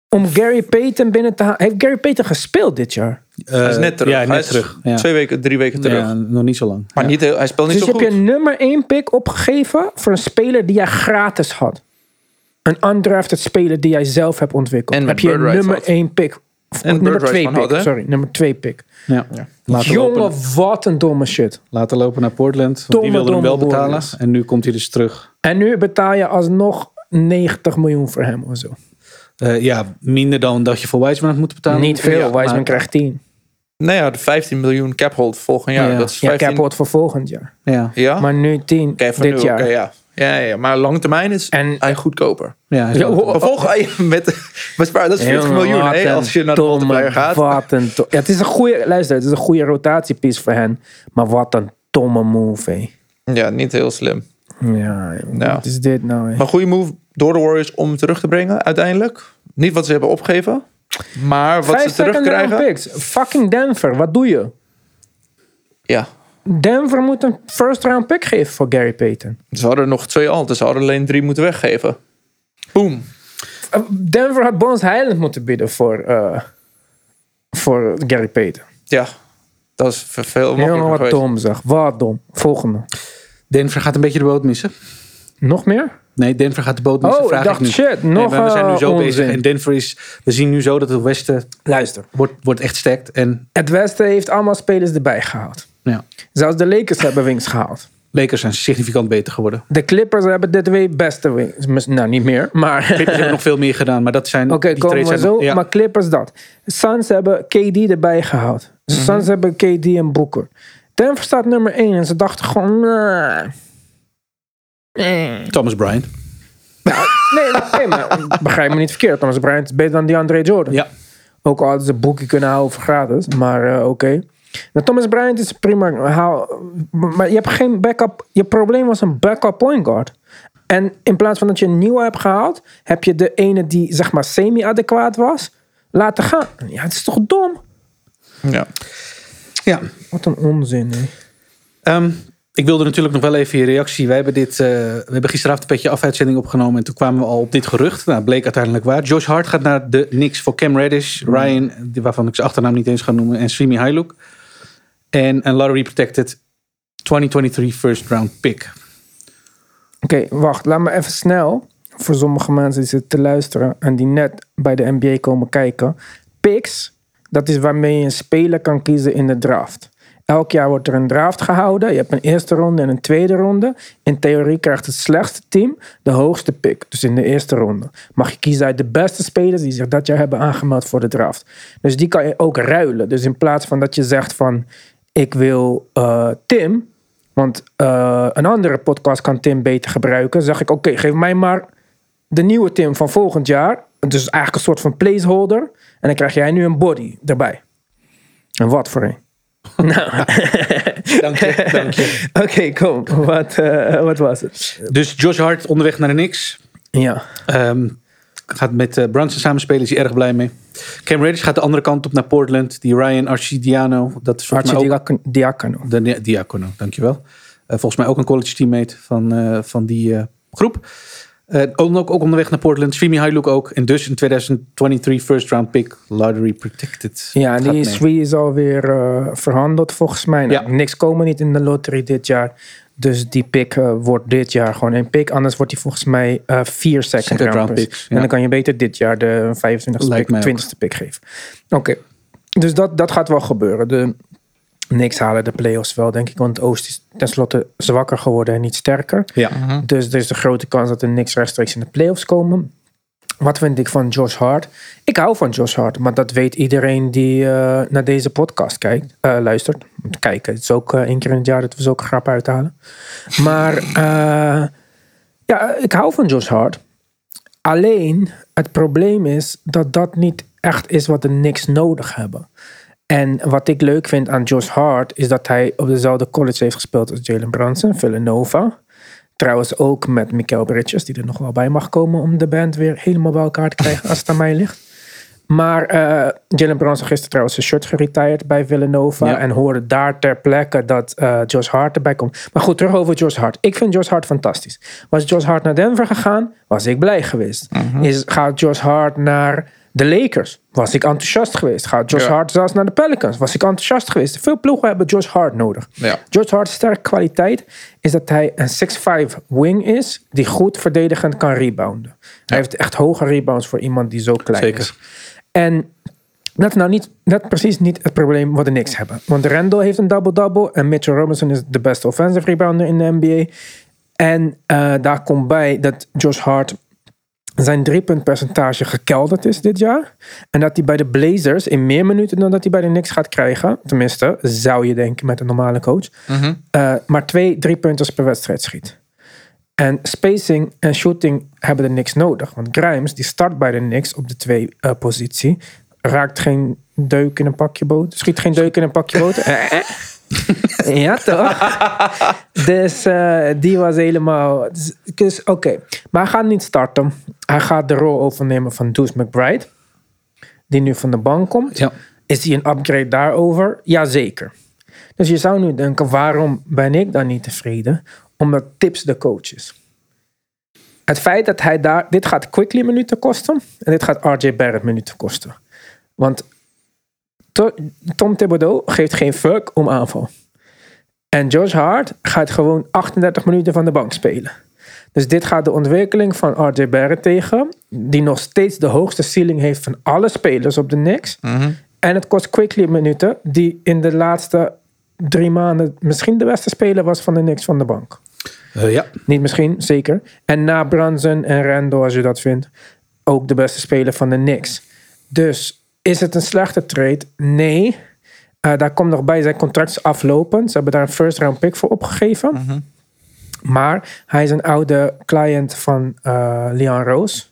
Speaker 2: om Gary Payton binnen te halen. Heeft Gary Payton gespeeld dit jaar?
Speaker 1: Hij is net terug.
Speaker 3: eh, Ja, net
Speaker 1: Hij is
Speaker 3: terug. Ja.
Speaker 1: Twee weken, drie weken terug.
Speaker 3: Ja, nog niet zo lang.
Speaker 1: Maar niet heel, hij speelt niet
Speaker 2: dus
Speaker 1: zo
Speaker 2: heb
Speaker 1: goed.
Speaker 2: je een nummer één pick opgegeven voor een speler die jij gratis had. Een undrafted speler die jij zelf hebt ontwikkeld.
Speaker 1: En
Speaker 2: heb je een
Speaker 1: Bird rights
Speaker 2: nummer
Speaker 1: had.
Speaker 2: één pick. Of
Speaker 1: En
Speaker 2: nummer
Speaker 1: Bird rights
Speaker 2: twee
Speaker 1: van
Speaker 2: pick,
Speaker 1: had, hè?
Speaker 2: sorry. Nummer twee pick.
Speaker 3: Ja. Laten,
Speaker 2: Jongen,
Speaker 3: lopen,
Speaker 2: wat een domme shit.
Speaker 3: laten lopen naar Portland. Want
Speaker 2: Domme,
Speaker 3: die wilden hem
Speaker 2: domme
Speaker 3: wel betalen.
Speaker 2: Warriors.
Speaker 3: En nu komt hij dus terug.
Speaker 2: En nu betaal je alsnog 90 miljoen voor hem of zo.
Speaker 3: Eh, ja, minder dan dat je voor Wiseman had moeten betalen.
Speaker 2: Niet veel,
Speaker 3: Ja,
Speaker 2: Wiseman
Speaker 3: maar-
Speaker 2: krijgt 10.
Speaker 1: Nou ja, de 15 miljoen cap hold volgend jaar.
Speaker 3: Ja.
Speaker 1: Dat is
Speaker 2: Ja, ik
Speaker 1: 15...
Speaker 2: heb het voor volgend jaar.
Speaker 3: Ja,
Speaker 1: Ja?
Speaker 2: Maar nu 10,
Speaker 1: Oké, voor
Speaker 2: dit
Speaker 1: nu,
Speaker 2: jaar.
Speaker 1: oké, ja. Ja, ja, maar lang termijn is
Speaker 2: En- Oh.
Speaker 1: hij goedkoper.
Speaker 3: ja, hij is
Speaker 2: Ja,
Speaker 3: wel-
Speaker 2: ho-
Speaker 1: Maar volg met, bespaar, dat is 40
Speaker 2: Jongen,
Speaker 1: miljoen
Speaker 2: wat
Speaker 1: hè,
Speaker 2: een
Speaker 1: als je naar de
Speaker 2: domme,
Speaker 1: multiplier gaat.
Speaker 2: Wat een do- ja, het is een goede, luister, het is een goede rotatiepiece voor hen. Maar wat een domme move, hé.
Speaker 1: Ja, niet heel slim.
Speaker 2: Ja, joh,
Speaker 1: Ja.
Speaker 2: wat is dit nou, hé?
Speaker 1: Maar goede move door de Warriors om hem terug te brengen uiteindelijk. Niet wat ze hebben opgegeven, maar wat
Speaker 2: Vijf
Speaker 1: ze terugkrijgen.
Speaker 2: second round picks. Fucking Denver, wat doe je?
Speaker 1: Ja,
Speaker 2: Denver moet een first round pick geven voor Gary Payton.
Speaker 1: ze hadden nog twee al, dus ze hadden alleen drie moeten weggeven. Boom.
Speaker 2: Eh, Denver had Bones Highland moeten bieden voor, eh, voor Gary Payton.
Speaker 1: Ja, dat is ver- veel
Speaker 2: Jongen,
Speaker 1: makkelijker
Speaker 2: wat
Speaker 1: geweest.
Speaker 2: dom zeg. Wat dom. Volgende.
Speaker 3: Denver gaat een beetje de boot missen.
Speaker 2: Nog meer?
Speaker 3: Nee, Denver gaat de boot missen.
Speaker 2: Oh, ik
Speaker 3: vraag
Speaker 2: dacht,
Speaker 3: nu.
Speaker 2: shit,
Speaker 3: Nee,
Speaker 2: nog,
Speaker 3: maar we zijn nu
Speaker 2: eh,
Speaker 3: zo bezig.
Speaker 2: onzin.
Speaker 3: En Denver is. We zien nu zo dat het Westen
Speaker 2: Luister.
Speaker 3: wordt, wordt echt sterk. En
Speaker 2: Het Westen heeft allemaal spelers erbij gehaald.
Speaker 3: Ja.
Speaker 2: Zelfs de Lakers hebben wings gehaald.
Speaker 3: Lakers zijn significant beter geworden.
Speaker 2: De Clippers hebben de twee beste wings. Mis- Nou, niet meer, maar...
Speaker 3: Clippers hebben nog veel meer gedaan, maar dat zijn...
Speaker 2: Oké,
Speaker 3: die
Speaker 2: komen we
Speaker 3: trades zijn-
Speaker 2: zo.
Speaker 3: ja.
Speaker 2: Maar Clippers dat. Suns hebben KD erbij gehaald.
Speaker 3: Mhm.
Speaker 2: Suns hebben KD en Booker. Denver staat nummer 1 en ze dachten gewoon... "Nah."
Speaker 3: Thomas Bryant.
Speaker 2: Nee, nee, maar begrijp me niet verkeerd. Thomas Bryant is beter dan die Andre Jordan.
Speaker 3: Ja.
Speaker 2: Ook al hadden ze boekje kunnen houden voor gratis. Maar eh, oké. Nou, Thomas Bryant is prima. Haal- Maar je hebt geen backup. Je probleem was een backup point guard. En in plaats van dat je een nieuwe hebt gehaald, heb je de ene die zeg maar semi-adequaat was, laten gaan. Ja, het is toch dom?
Speaker 1: Ja.
Speaker 3: ja.
Speaker 2: Wat een onzin. hè.
Speaker 3: Ehm, ik wilde natuurlijk nog wel even je reactie. Wij hebben, dit, eh, we hebben gisteravond een petje af-uitzending opgenomen. En toen kwamen we al op dit gerucht. Nou, bleek uiteindelijk waar. Josh Hart gaat naar de Knicks voor Cam Reddish, Ryan, die- waarvan ik zijn achternaam niet eens ga noemen. En Swimi Hailuk. En een lottery protected 2023 first round pick.
Speaker 2: Oké, wacht. Laat me even snel. Voor sommige mensen die zitten te luisteren en die net bij de NBA komen kijken. Picks, dat is waarmee je een speler kan kiezen in de draft. Elk jaar wordt er een draft gehouden. Je hebt een eerste ronde en een tweede ronde. In theorie krijgt het slechtste team de hoogste pick. Dus in de eerste ronde mag je kiezen uit de beste spelers die zich dat jaar hebben aangemeld voor de draft. Dus die kan je ook ruilen. Dus in plaats van dat je zegt van ik wil eh, Tim, want eh, een andere podcast kan Tim beter gebruiken. Zeg ik, oké, geef mij maar de nieuwe Tim van volgend jaar. Dus eigenlijk een soort van placeholder. En dan krijg jij nu een body erbij. En wat voor een? nou,
Speaker 3: Dank je, dank je.
Speaker 2: oké, kom. Wat, eh, wat was het?
Speaker 3: Dus Josh Hart onderweg naar de Knicks.
Speaker 2: Ja.
Speaker 3: Ehm, gaat met eh Brunson samenspelen, is hij erg blij mee. Cam Reddish gaat de andere kant op naar Portland. Die Ryan Arcidiano, dat is volgens mij ook
Speaker 2: Archie Diacono.
Speaker 3: De Ni- Diacono, dankjewel. Eh, volgens mij ook een college teammate van, eh, van die eh, groep. Eh, ook, ook ook onderweg naar Portland. Swimi Hailuk ook. En dus een 2023 first round pick. Lottery protected.
Speaker 2: Ja, en
Speaker 3: Gaat
Speaker 2: die
Speaker 3: mee.
Speaker 2: Sweet is alweer eh, verhandeld volgens mij. Nou,
Speaker 3: Ja.
Speaker 2: Niks komen niet in de lottery dit jaar. Dus die pick eh, wordt dit jaar gewoon één pick. Anders wordt die volgens mij eh, vier second,
Speaker 3: Second round
Speaker 2: round, picks.
Speaker 3: picks,
Speaker 2: En
Speaker 3: ja.
Speaker 2: dan kan je beter dit jaar de 25ste
Speaker 3: Lijkt mij
Speaker 2: pick,
Speaker 3: ook.
Speaker 2: 20ste pick geven. Oké, dus dat, dat gaat wel gebeuren. De, niks halen de playoffs wel, denk ik. Want het Oost is tenslotte zwakker geworden en niet sterker.
Speaker 3: Ja.
Speaker 2: Dus er is de grote kans dat er niks rechtstreeks in de playoffs komen. Wat vind ik van Josh Hart? Ik hou van Josh Hart, maar dat weet iedereen die eh, naar deze podcast kijkt, eh, luistert. Om te kijken, het is ook eh, één keer in het jaar dat we zulke grap uithalen. Maar eh, ja, ik hou van Josh Hart. Alleen het probleem is dat dat niet echt is wat de Knicks nodig hebben. En wat ik leuk vind aan Josh Hart is dat hij op dezelfde college heeft gespeeld als Jalen Brunson, Villanova. Trouwens ook met Mikael Bridges, die er nog wel bij mag komen om de band weer helemaal bij elkaar te krijgen als het aan mij ligt. Maar eh Jalen Brunson gisteren trouwens zijn shirt geretired bij Villanova.
Speaker 3: Ja.
Speaker 2: En hoorde daar ter plekke dat eh, Josh Hart erbij komt. Maar goed, terug over Josh Hart. Ik vind Josh Hart fantastisch. Was Josh Hart naar Denver gegaan, was ik blij geweest. Is, gaat Josh Hart naar de Lakers, was ik enthousiast geweest. Gaat Josh
Speaker 1: Ja.
Speaker 2: Hart zelfs naar de Pelicans, was ik enthousiast geweest. Veel ploegen hebben Josh Hart nodig.
Speaker 1: Ja.
Speaker 2: George Hart's sterke kwaliteit is dat hij een 6'5 wing is die goed verdedigend kan rebounden. Hij heeft echt hoge rebounds voor iemand die zo klein
Speaker 3: Zeker.
Speaker 2: is. En dat is nou niet, dat is precies niet het probleem wat de Knicks hebben. Want Randall heeft een double-double en Mitchell Robinson is de beste offensive rebounder in de NBA. En eh, daar komt bij dat Josh Hart zijn driepuntpercentage gekelderd is dit jaar. En dat hij bij de Blazers in meer minuten dan dat hij bij de Knicks gaat krijgen. Tenminste, zou je denken met een normale coach. eh, maar twee driepunters per wedstrijd schiet. En spacing en shooting hebben de Knicks nodig. Want Grimes, die start bij de Knicks op de twee eh, positie. Raakt geen deuk in een pakje boter. Schiet geen deuk in een pakje boter. Eh, eh. ja, toch? dus eh, die was helemaal... Dus, dus, oké. Maar hij gaat niet starten. Hij gaat de rol overnemen van Deuce McBride. Die nu van de bank komt.
Speaker 3: ja.
Speaker 2: Is die een upgrade daarover? Jazeker. Dus je zou nu denken, waarom ben ik dan niet tevreden? Omdat Tips de coach is. Het feit dat hij daar... Dit gaat Quickly minuten kosten. En dit gaat RJ Barrett minuten kosten. Want To- Tom Thibodeau geeft geen fuck om aanval. En Josh Hart gaat gewoon 38 minuten van de bank spelen. Dus dit gaat de ontwikkeling van RJ Barrett tegen. Die nog steeds de hoogste ceiling heeft van alle spelers op de Knicks. En het kost Quickly minuten. Die in de laatste drie maanden misschien de beste speler was van de niks van de bank.
Speaker 3: Eh, ja,
Speaker 2: Niet misschien, zeker. En na Branson en Randall, als je dat vindt, ook de beste speler van de Knicks. Dus is het een slechte trade? Nee. Eh, daar komt nog bij, zijn contract is aflopend. Ze hebben daar een first round pick voor opgegeven. Maar hij is een oude client van eh Leon Rose.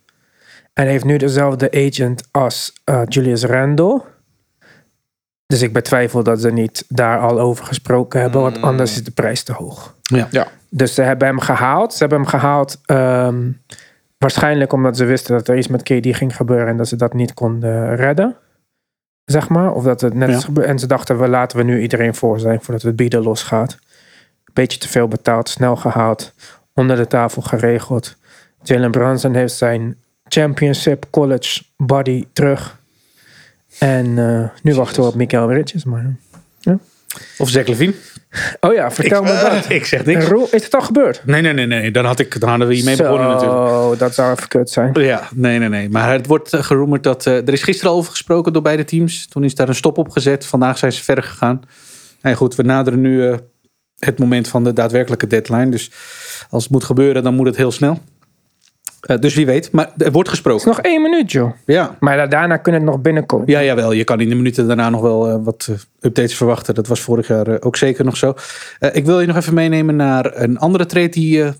Speaker 2: En heeft nu dezelfde agent als eh, Julius Randle. Dus ik betwijfel dat ze niet daar al over gesproken hebben, want anders is de prijs te hoog.
Speaker 3: ja.
Speaker 1: Ja.
Speaker 2: Dus ze hebben hem gehaald. Ze hebben hem gehaald ehm, waarschijnlijk omdat ze wisten dat er iets met KD ging gebeuren en dat ze dat niet konden redden. Zeg maar. Of dat het net
Speaker 3: Ja.
Speaker 2: is gebeurd. En ze dachten, we laten we nu iedereen voor zijn voordat het bieden losgaat. Beetje te veel betaald, snel gehaald, onder de tafel geregeld. Jalen Brunson heeft zijn championship college body terug. En eh, nu wachten we op Mikael Bridges. Maar...
Speaker 3: Of Zach Levine.
Speaker 2: Oh ja, vertel me dat.
Speaker 3: ik zeg
Speaker 2: Roel, is het al gebeurd?
Speaker 3: Nee, nee, nee, nee. Dan, had ik, dan hadden we hiermee begonnen natuurlijk.
Speaker 2: Zo, dat zou even kut zijn.
Speaker 3: Ja, nee, nee, nee. Maar het wordt eh, geroemerd dat... eh, er is gisteren al over gesproken door beide teams. Toen is daar een stop op gezet. Vandaag zijn ze verder gegaan. En goed, we naderen nu eh, het moment van de daadwerkelijke deadline. Dus als het moet gebeuren, dan moet het heel snel. Eh, dus wie weet. Maar er wordt
Speaker 2: Het
Speaker 3: gesproken.
Speaker 2: is nog één minuut, joh.
Speaker 3: Ja.
Speaker 2: Maar da- daarna kunnen het nog binnenkomen.
Speaker 3: Ja, jawel. Je kan in de minuten daarna nog wel eh, wat eh, updates verwachten. Dat was vorig jaar eh, ook zeker nog zo. Eh, ik wil je nog even meenemen naar een andere trade die eh,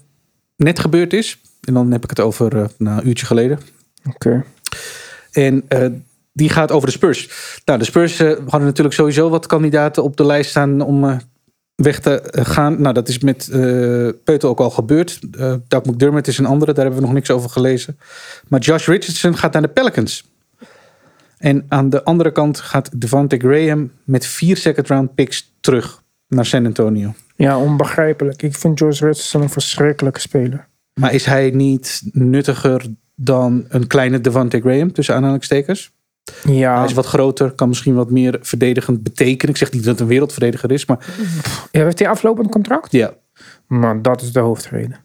Speaker 3: net gebeurd is. En dan heb ik het over eh, nou, een uurtje geleden.
Speaker 2: Oké.
Speaker 3: En eh, die gaat over de Spurs. Nou, de Spurs eh, hadden natuurlijk sowieso wat kandidaten op de lijst staan om eh, weg te eh, gaan. Nou, dat is met eh Peutel ook al gebeurd. Eh Doug McDermott is een andere, daar hebben we nog niks over gelezen. Maar Josh Richardson gaat naar de Pelicans. En aan de andere kant gaat Devante Graham met vier second round picks terug naar San Antonio.
Speaker 2: Ja, onbegrijpelijk. Ik vind George Richardson een verschrikkelijke speler.
Speaker 3: Maar is hij niet nuttiger dan een kleine Devante Graham, tussen aanhalingstekens?
Speaker 2: Ja,
Speaker 3: Hij is wat groter, kan misschien wat meer verdedigend betekenen. Ik zeg niet dat het een wereldverdediger is, maar
Speaker 2: Ja, heeft hij aflopend contract?
Speaker 3: ja.
Speaker 2: Maar dat is de hoofdreden.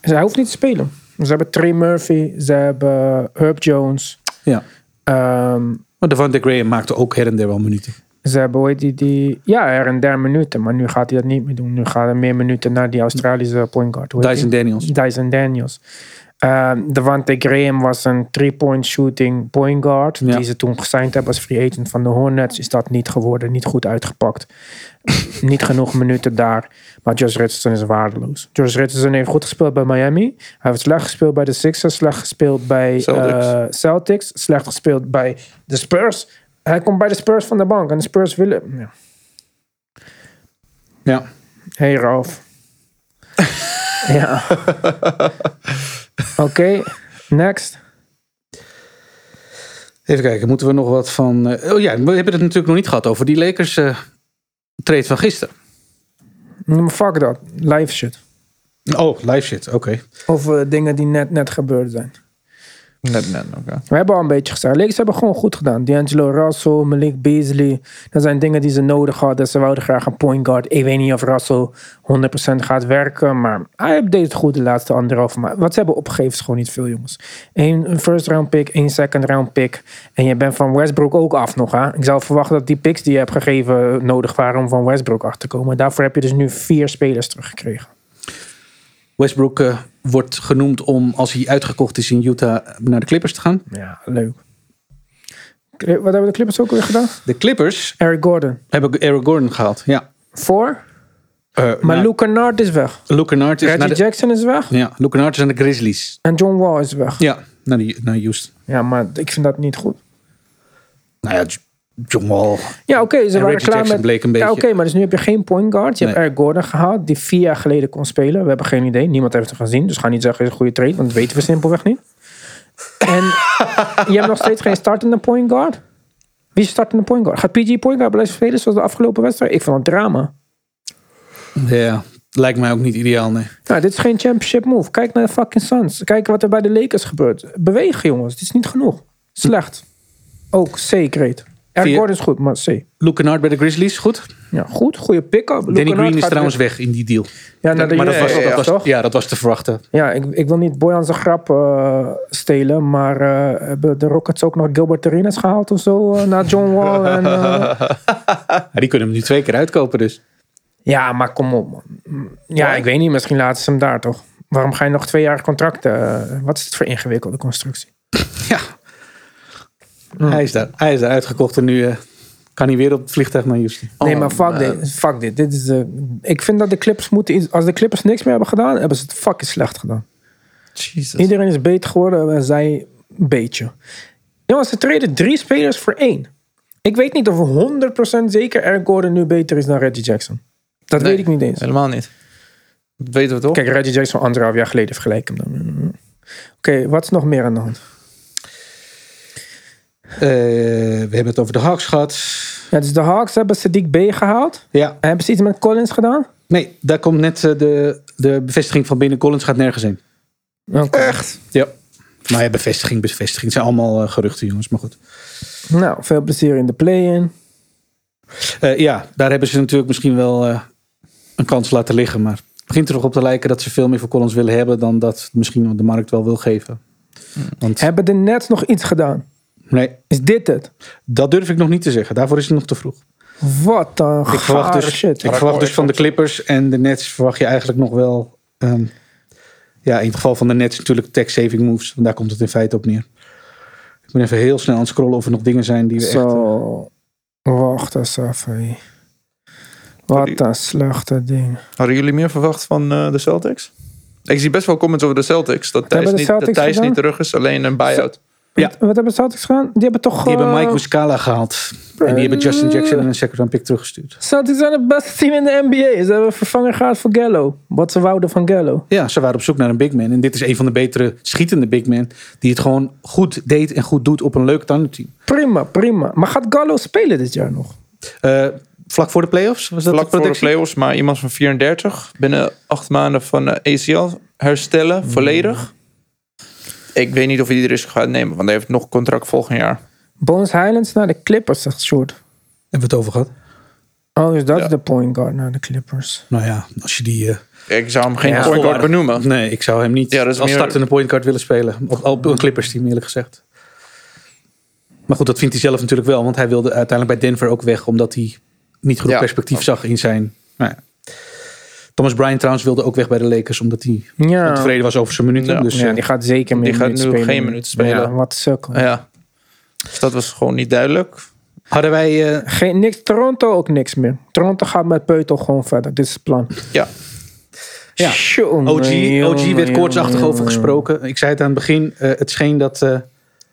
Speaker 2: Dus hij hoeft niet te spelen. Ze hebben Trey Murphy, ze hebben Herb Jones.
Speaker 3: ja.
Speaker 2: ehm,
Speaker 3: Maar Devante Graham maakte ook her en der wel minuten.
Speaker 2: ze hebben, hoe heet die, die... Ja, er en der minuten. Maar nu gaat hij dat niet meer doen. Nu gaan er meer minuten naar die Australische point guard. Hoe heet die?
Speaker 3: Dyson Daniels.
Speaker 2: Dyson Daniels. Ehm Devante Graham was een three-point shooting point guard.
Speaker 3: Ja.
Speaker 2: Die ze toen gesigned hebben als free agent van de Hornets. Is dat niet geworden, niet goed uitgepakt. niet genoeg minuten daar. Maar Josh Richardson is waardeloos. Josh Richardson heeft goed gespeeld bij Miami. Hij heeft slecht gespeeld bij de Sixers. Slecht gespeeld bij
Speaker 1: Celtics.
Speaker 2: eh, Celtics. Slecht gespeeld bij de Spurs. Hij komt bij de Spurs van de bank. En de Spurs willen... Ja.
Speaker 3: Ja.
Speaker 2: Hey Ralf. ja. Oké, next.
Speaker 3: Even kijken, moeten we nog wat van... eh, oh ja, we hebben het natuurlijk nog niet gehad over die Lakers eh, trade van gisteren.
Speaker 2: Mm, Fuck dat, live shit.
Speaker 3: Oh, live shit, oké.
Speaker 2: Of eh, dingen die net, net gebeurd zijn.
Speaker 1: Net, net, oké.
Speaker 2: We hebben al een beetje gezegd. Lakers hebben gewoon goed gedaan. D'Angelo Russell, Malik Beasley. Dat zijn dingen die ze nodig hadden. Ze wouden graag een point guard. Ik weet niet of Russell 100% gaat werken. Maar hij deed het goed de laatste anderhalve maand. Wat ze hebben opgegeven is gewoon niet veel, jongens. Eén first round pick, één second round pick. En je bent van Westbrook ook af nog. Hè? Ik zou verwachten dat die picks die je hebt gegeven nodig waren om van Westbrook af te komen. Daarvoor heb je dus nu vier spelers teruggekregen.
Speaker 3: Westbrook eh, wordt genoemd om, als hij uitgekocht is in Utah, naar de Clippers te gaan.
Speaker 2: Ja, leuk. Wat hebben de Clippers ook weer gedaan?
Speaker 3: De Clippers
Speaker 2: Eric Gordon.
Speaker 3: hebben Eric Gordon gehaald, ja.
Speaker 2: Voor?
Speaker 3: Eh,
Speaker 2: Maar
Speaker 3: nou,
Speaker 2: Luke Kennard is weg.
Speaker 3: Luke Kennard is
Speaker 2: Reggie
Speaker 3: Dus naar de,
Speaker 2: Jackson is weg.
Speaker 3: ja, Luke Kennard is naar de Grizzlies.
Speaker 2: En John Wall is weg.
Speaker 3: Ja, naar, die, naar Houston.
Speaker 2: Ja, maar ik vind dat niet goed.
Speaker 3: Nou ja, J- John Wall.
Speaker 2: Ja, oké, ze
Speaker 3: En
Speaker 2: waren
Speaker 3: Reggie
Speaker 2: klaar
Speaker 3: Jackson
Speaker 2: met...
Speaker 3: bleek een
Speaker 2: ja,
Speaker 3: beetje-
Speaker 2: oké, maar dus nu heb je geen point guard. Je hebt
Speaker 3: Nee.
Speaker 2: Eric Gordon gehaald, die vier jaar geleden kon spelen. We hebben geen idee. Niemand heeft hem gezien. Dus ga niet zeggen, is een goede trade. Want dat weten we simpelweg niet. En je hebt nog steeds geen startende point guard. Wie is startende point guard? Gaat PG point guard blijven spelen zoals de afgelopen wedstrijd? Ik vind het een drama.
Speaker 3: Ja, lijkt mij ook niet ideaal, nee.
Speaker 2: Nou, dit is geen championship move. Kijk naar de fucking Suns. Kijk wat er bij de Lakers gebeurt. Bewegen, jongens. Dit is niet genoeg. Slecht. Ook C-grade. Eric
Speaker 3: Vier.
Speaker 2: Gordon is goed, maar C.
Speaker 3: Luke Kennard bij de Grizzlies, goed.
Speaker 2: Ja, goed. Goede pick-up. Luke
Speaker 3: Danny
Speaker 2: Kennard
Speaker 3: Green is
Speaker 2: gaat
Speaker 3: trouwens
Speaker 2: weer-
Speaker 3: weg in die deal.
Speaker 2: Ja, naar de
Speaker 3: maar dat
Speaker 1: ja,
Speaker 3: was,
Speaker 1: ja,
Speaker 2: USL,
Speaker 1: ja.
Speaker 3: dat
Speaker 2: toch?
Speaker 3: was, ja, dat was te verwachten.
Speaker 2: Ja, ik, ik wil niet Boyan zijn grap eh, stelen, maar eh, hebben de Rockets ook nog Gilbert Arenas gehaald of zo eh, na John Wall? En, eh,
Speaker 3: Ja, die kunnen hem nu twee keer uitkopen dus.
Speaker 2: Ja, maar kom op man. Ja, ik weet niet, misschien laten ze hem daar toch. Waarom ga je nog twee jaar contract? eh, wat is het voor ingewikkelde constructie?
Speaker 3: Ja. Hm. Hij, is daar, hij is daar uitgekocht en nu eh, kan hij weer op het vliegtuig naar Houston.
Speaker 2: nee,
Speaker 1: Oh,
Speaker 2: maar fuck
Speaker 1: man.
Speaker 2: dit. Fuck dit. dit is, eh, ik vind dat de Clippers moeten... iets- Als de Clippers niks meer hebben gedaan, hebben ze het fucking slecht gedaan.
Speaker 1: Jesus.
Speaker 2: Iedereen is beter geworden en zij een beetje. Jongens, ze treden drie spelers voor één. Ik weet niet of we 100% zeker Eric Gordon nu beter is dan Reggie Jackson. Dat
Speaker 1: Nee.
Speaker 2: weet ik niet eens.
Speaker 1: Helemaal niet. Dat weten we toch?
Speaker 2: Kijk, Reggie Jackson anderhalf jaar geleden vergelijk hem dan. Oké, wat is nog meer aan de hand?
Speaker 3: Eh, we hebben het over de Hawks gehad.
Speaker 2: Ja, dus de Hawks hebben Sadiq B gehaald.
Speaker 3: Ja,
Speaker 2: En hebben ze iets met Collins gedaan?
Speaker 3: nee, daar komt net eh, de, de bevestiging van binnen. Collins gaat nergens heen.
Speaker 2: Oké.
Speaker 1: Echt?
Speaker 3: Ja. Nou ja, bevestiging, bevestiging. Het zijn allemaal eh, geruchten, jongens, maar goed.
Speaker 2: Nou, veel plezier in de play-in.
Speaker 3: Eh, ja, daar hebben ze natuurlijk misschien wel eh, een kans laten liggen. Maar het begint er toch op te lijken dat ze veel meer voor Collins willen hebben dan dat misschien de markt wel wil geven.
Speaker 2: Hmm.
Speaker 3: Want
Speaker 2: Hebben de Nets nog iets gedaan?
Speaker 3: nee,
Speaker 2: Is dit het?
Speaker 3: dat durf ik nog niet te zeggen. Daarvoor is het nog te vroeg.
Speaker 2: Wat een
Speaker 3: Ik verwacht,
Speaker 2: gare
Speaker 3: dus,
Speaker 2: shit.
Speaker 3: ik verwacht dus van de Clippers en de Nets verwacht je eigenlijk nog wel... ehm, ja, in het geval van de Nets natuurlijk tech-saving moves. Want daar komt het in feite op neer. Ik ben even heel snel aan het scrollen of er nog dingen zijn die we dus echt...
Speaker 2: Zo. Wacht eens even. Wat een slechte ding.
Speaker 1: Hadden jullie meer verwacht van eh, de Celtics? Ik zie best wel comments over de Celtics. Dat Thijs,
Speaker 2: hebben de
Speaker 1: niet, dat
Speaker 2: Celtics
Speaker 1: Thijs
Speaker 2: gedaan?
Speaker 1: niet terug is, alleen een buy-out.
Speaker 3: Ja.
Speaker 2: Wat hebben de Celtics gedaan? Die hebben toch...
Speaker 3: Die hebben
Speaker 2: eh,
Speaker 3: Mike Muscala gehaald. En die hebben Justin Jackson en een second round pick teruggestuurd.
Speaker 2: Celtics zijn het beste team in de NBA. Ze hebben een vervanger gehad voor Gallo. Wat ze wouden van Gallo.
Speaker 3: Ja, ze waren op zoek naar een big man. En dit is een van de betere schietende big men. Die het gewoon goed deed en goed doet op een leuk tandenteam.
Speaker 2: Prima, prima. Maar gaat Gallo spelen dit jaar nog?
Speaker 3: Eh vlak voor de playoffs was dat
Speaker 1: Vlak
Speaker 3: de
Speaker 1: voor de
Speaker 3: predictie?
Speaker 1: playoffs, maar iemand van 34. Binnen acht maanden van eh, ACL herstellen,
Speaker 2: Mm.
Speaker 1: volledig. Ik weet niet of hij die risico gaat nemen, want hij heeft nog contract volgend jaar.
Speaker 2: Bones Highlands naar de Clippers, zegt Short.
Speaker 3: Hebben we het over gehad?
Speaker 2: Oh, dus dat
Speaker 1: Ja.
Speaker 2: is de point guard naar de Clippers.
Speaker 3: Nou ja, als je die... eh,
Speaker 1: Ik zou hem geen
Speaker 2: Ja,
Speaker 1: point guard
Speaker 3: volwaardig-
Speaker 1: benoemen.
Speaker 3: Nee, ik zou hem niet
Speaker 1: Ja, dat is
Speaker 3: als
Speaker 1: meer-
Speaker 3: startende point guard willen spelen. Op, op een Clippers team eerlijk gezegd. Maar goed, dat vindt hij zelf natuurlijk wel. Want hij wilde uiteindelijk bij Denver ook weg. Omdat hij niet genoeg
Speaker 1: Ja.
Speaker 3: perspectief zag in zijn... Nou ja. Thomas Bryant trouwens wilde ook weg bij de Lakers. Omdat hij
Speaker 2: Ja.
Speaker 3: tevreden was over zijn minuten.
Speaker 1: Ja.
Speaker 3: Dus,
Speaker 2: Ja,
Speaker 3: eh,
Speaker 2: die gaat zeker meer
Speaker 1: die gaat
Speaker 2: minuten
Speaker 1: nu
Speaker 2: spelen.
Speaker 1: geen minuten spelen.
Speaker 2: Ja, wat sukkel.
Speaker 1: Ja. Dus dat was gewoon niet duidelijk.
Speaker 3: Hadden wij... eh,
Speaker 2: Geen, niks, Toronto ook niks meer. Toronto gaat met Peutel gewoon verder. Dit is het plan.
Speaker 1: Ja,
Speaker 3: Ja.
Speaker 2: Jongen,
Speaker 3: OG, OG werd
Speaker 2: jongen,
Speaker 3: koortsachtig
Speaker 2: jongen,
Speaker 3: over gesproken. Ik zei het aan het begin. eh, het scheen dat... eh,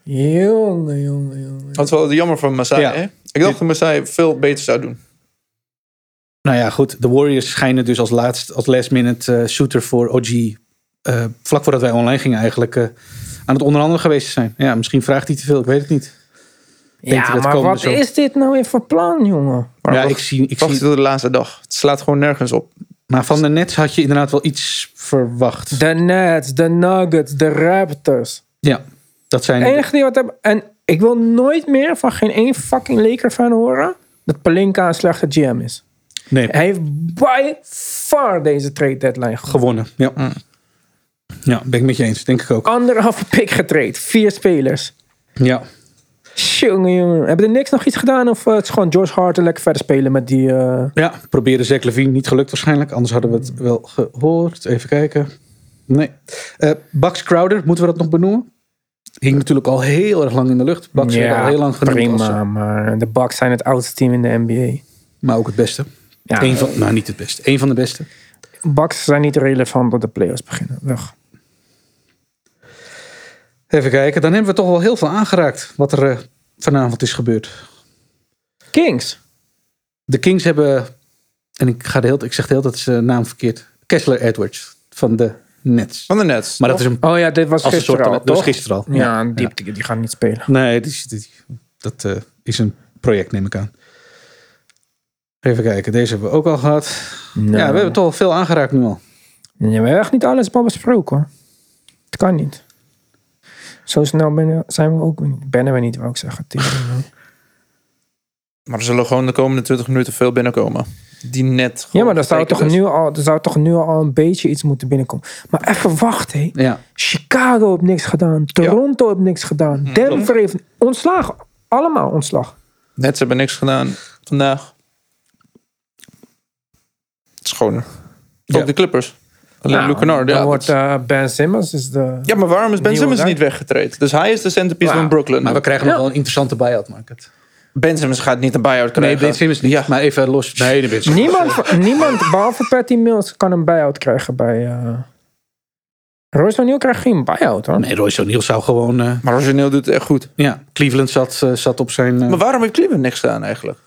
Speaker 2: Jongen, jongen, jongen.
Speaker 1: dat is wel jammer van Masai.
Speaker 3: Ja.
Speaker 1: Hè? Ik dacht dat Masai veel beter zou doen.
Speaker 3: nou ja, goed. De Warriors schijnen dus als, laatst, als last minute eh, shooter voor OG... eh, vlak voordat wij online gingen eigenlijk... eh, aan het onderhandelen geweest te zijn. Ja, misschien vraagt hij te veel. Ik weet het niet. Peter,
Speaker 2: Ja,
Speaker 3: dat
Speaker 2: maar
Speaker 3: komen
Speaker 2: wat
Speaker 3: we zo.
Speaker 2: is dit nou weer voor plan, jongen?
Speaker 1: Maar
Speaker 3: ja,
Speaker 1: wacht-
Speaker 3: ik zie... Ik
Speaker 1: Wacht
Speaker 3: zie
Speaker 1: tot de laatste dag. Het slaat gewoon nergens op.
Speaker 3: maar van de Nets had je inderdaad wel iets verwacht.
Speaker 2: De Nets, de Nuggets, de Raptors.
Speaker 3: Ja, dat zijn...
Speaker 2: Het enige die wat hebben... En ik wil nooit meer van geen één fucking Laker fan horen... dat Pelinka een slechte GM is.
Speaker 3: Nee,
Speaker 2: Hij heeft by far deze trade deadline gewonnen.
Speaker 3: gewonnen. Ja.
Speaker 1: Hmm.
Speaker 3: ja, ben ik met je eens. Denk ik
Speaker 1: Oh.
Speaker 3: ook.
Speaker 2: Anderhalve pick getraind. Vier spelers.
Speaker 3: Ja.
Speaker 2: Jongen, jongen. Hebben de niks nog iets gedaan? Of eh, het is gewoon George Hart en lekker verder spelen met die... eh,
Speaker 3: Ja, proberen Zach Levine. Niet gelukt waarschijnlijk. Anders hadden we het wel gehoord. Even kijken. Nee. Eh Bucks Crowder, moeten we dat nog benoemen? Hing natuurlijk al heel erg lang in de lucht. Bucks werd al heel lang genoemd. als- eh,
Speaker 2: prima, maar de Bucks zijn het oudste team in de NBA.
Speaker 3: maar ook het beste.
Speaker 2: Ja,
Speaker 3: Eén van, nou, niet het beste. Eén van de beste.
Speaker 2: Bucks zijn niet relevant dat de playoffs beginnen. Weg.
Speaker 3: Even kijken. Dan hebben we toch wel heel veel aangeraakt wat er eh, vanavond is gebeurd.
Speaker 2: Kings.
Speaker 3: De Kings hebben, en ik, ga de hele, ik zeg de hele tijd zijn naam verkeerd, Kessler Edwards van de Nets.
Speaker 1: Van de Nets.
Speaker 3: Maar dat is een,
Speaker 2: Oh ja, dit was
Speaker 3: als een soort,
Speaker 2: gisteren al,
Speaker 3: dat was
Speaker 2: toch?
Speaker 3: gisteren al.
Speaker 2: Ja, een diepte, die gaan niet spelen.
Speaker 3: Nee, die- die- dat eh, is een project, neem ik aan. Even kijken, deze hebben we ook al gehad.
Speaker 2: Nee.
Speaker 3: Ja, we hebben toch al veel aangeraakt nu al.
Speaker 2: Ja, we hebben echt niet alles maar besproken hoor. Het kan niet. Zo snel ben- zijn we ook weer niet. Bennen we niet, wou ik zeggen. Tering, man.
Speaker 1: Maar er zullen gewoon de komende 20 minuten veel binnenkomen. Die net.
Speaker 2: Ja,
Speaker 1: gewoon
Speaker 2: maar er zou, toch
Speaker 1: getekend
Speaker 3: dus.
Speaker 1: is.
Speaker 2: nu al, er zou toch nu al een beetje iets moeten binnenkomen. Maar even wachten, hé.
Speaker 3: Ja.
Speaker 2: Chicago heeft niks gedaan. Toronto heeft niks gedaan.
Speaker 1: Hmm.
Speaker 2: Denver heeft ontslag. Allemaal ontslag.
Speaker 1: Net ze hebben niks gedaan vandaag. Het is gewoon.
Speaker 3: Ja.
Speaker 1: Ook de Clippers. Alleen
Speaker 2: Nou,
Speaker 1: Luke Kennard,
Speaker 2: Dan
Speaker 1: ja,
Speaker 2: wordt
Speaker 1: dat-
Speaker 2: eh, Ben Simmons is de...
Speaker 1: ja, maar waarom is Ben
Speaker 2: nieuwe Nou,
Speaker 1: Simmons
Speaker 2: daar.
Speaker 1: niet weggetraind? Dus hij is de centerpiece
Speaker 2: Wauw.
Speaker 1: van Brooklyn.
Speaker 3: Maar we krijgen nog wel een interessante buyout market.
Speaker 1: Ben Simmons gaat niet een buyout
Speaker 3: Nee,
Speaker 1: krijgen.
Speaker 3: Ben Simmons niet. Maar even los. Nee, de Simmons.
Speaker 2: Niemand, van- niemand behalve Patty Mills kan een buyout krijgen bij... eh Royce O'Neal krijgt geen buyout, hoor.
Speaker 3: Nee, Royce O'Neal zou gewoon... eh,
Speaker 1: Maar origineel doet het echt goed.
Speaker 3: ja, Cleveland zat, eh, zat op zijn... eh,
Speaker 1: Maar waarom heeft Cleveland niks gedaan eigenlijk?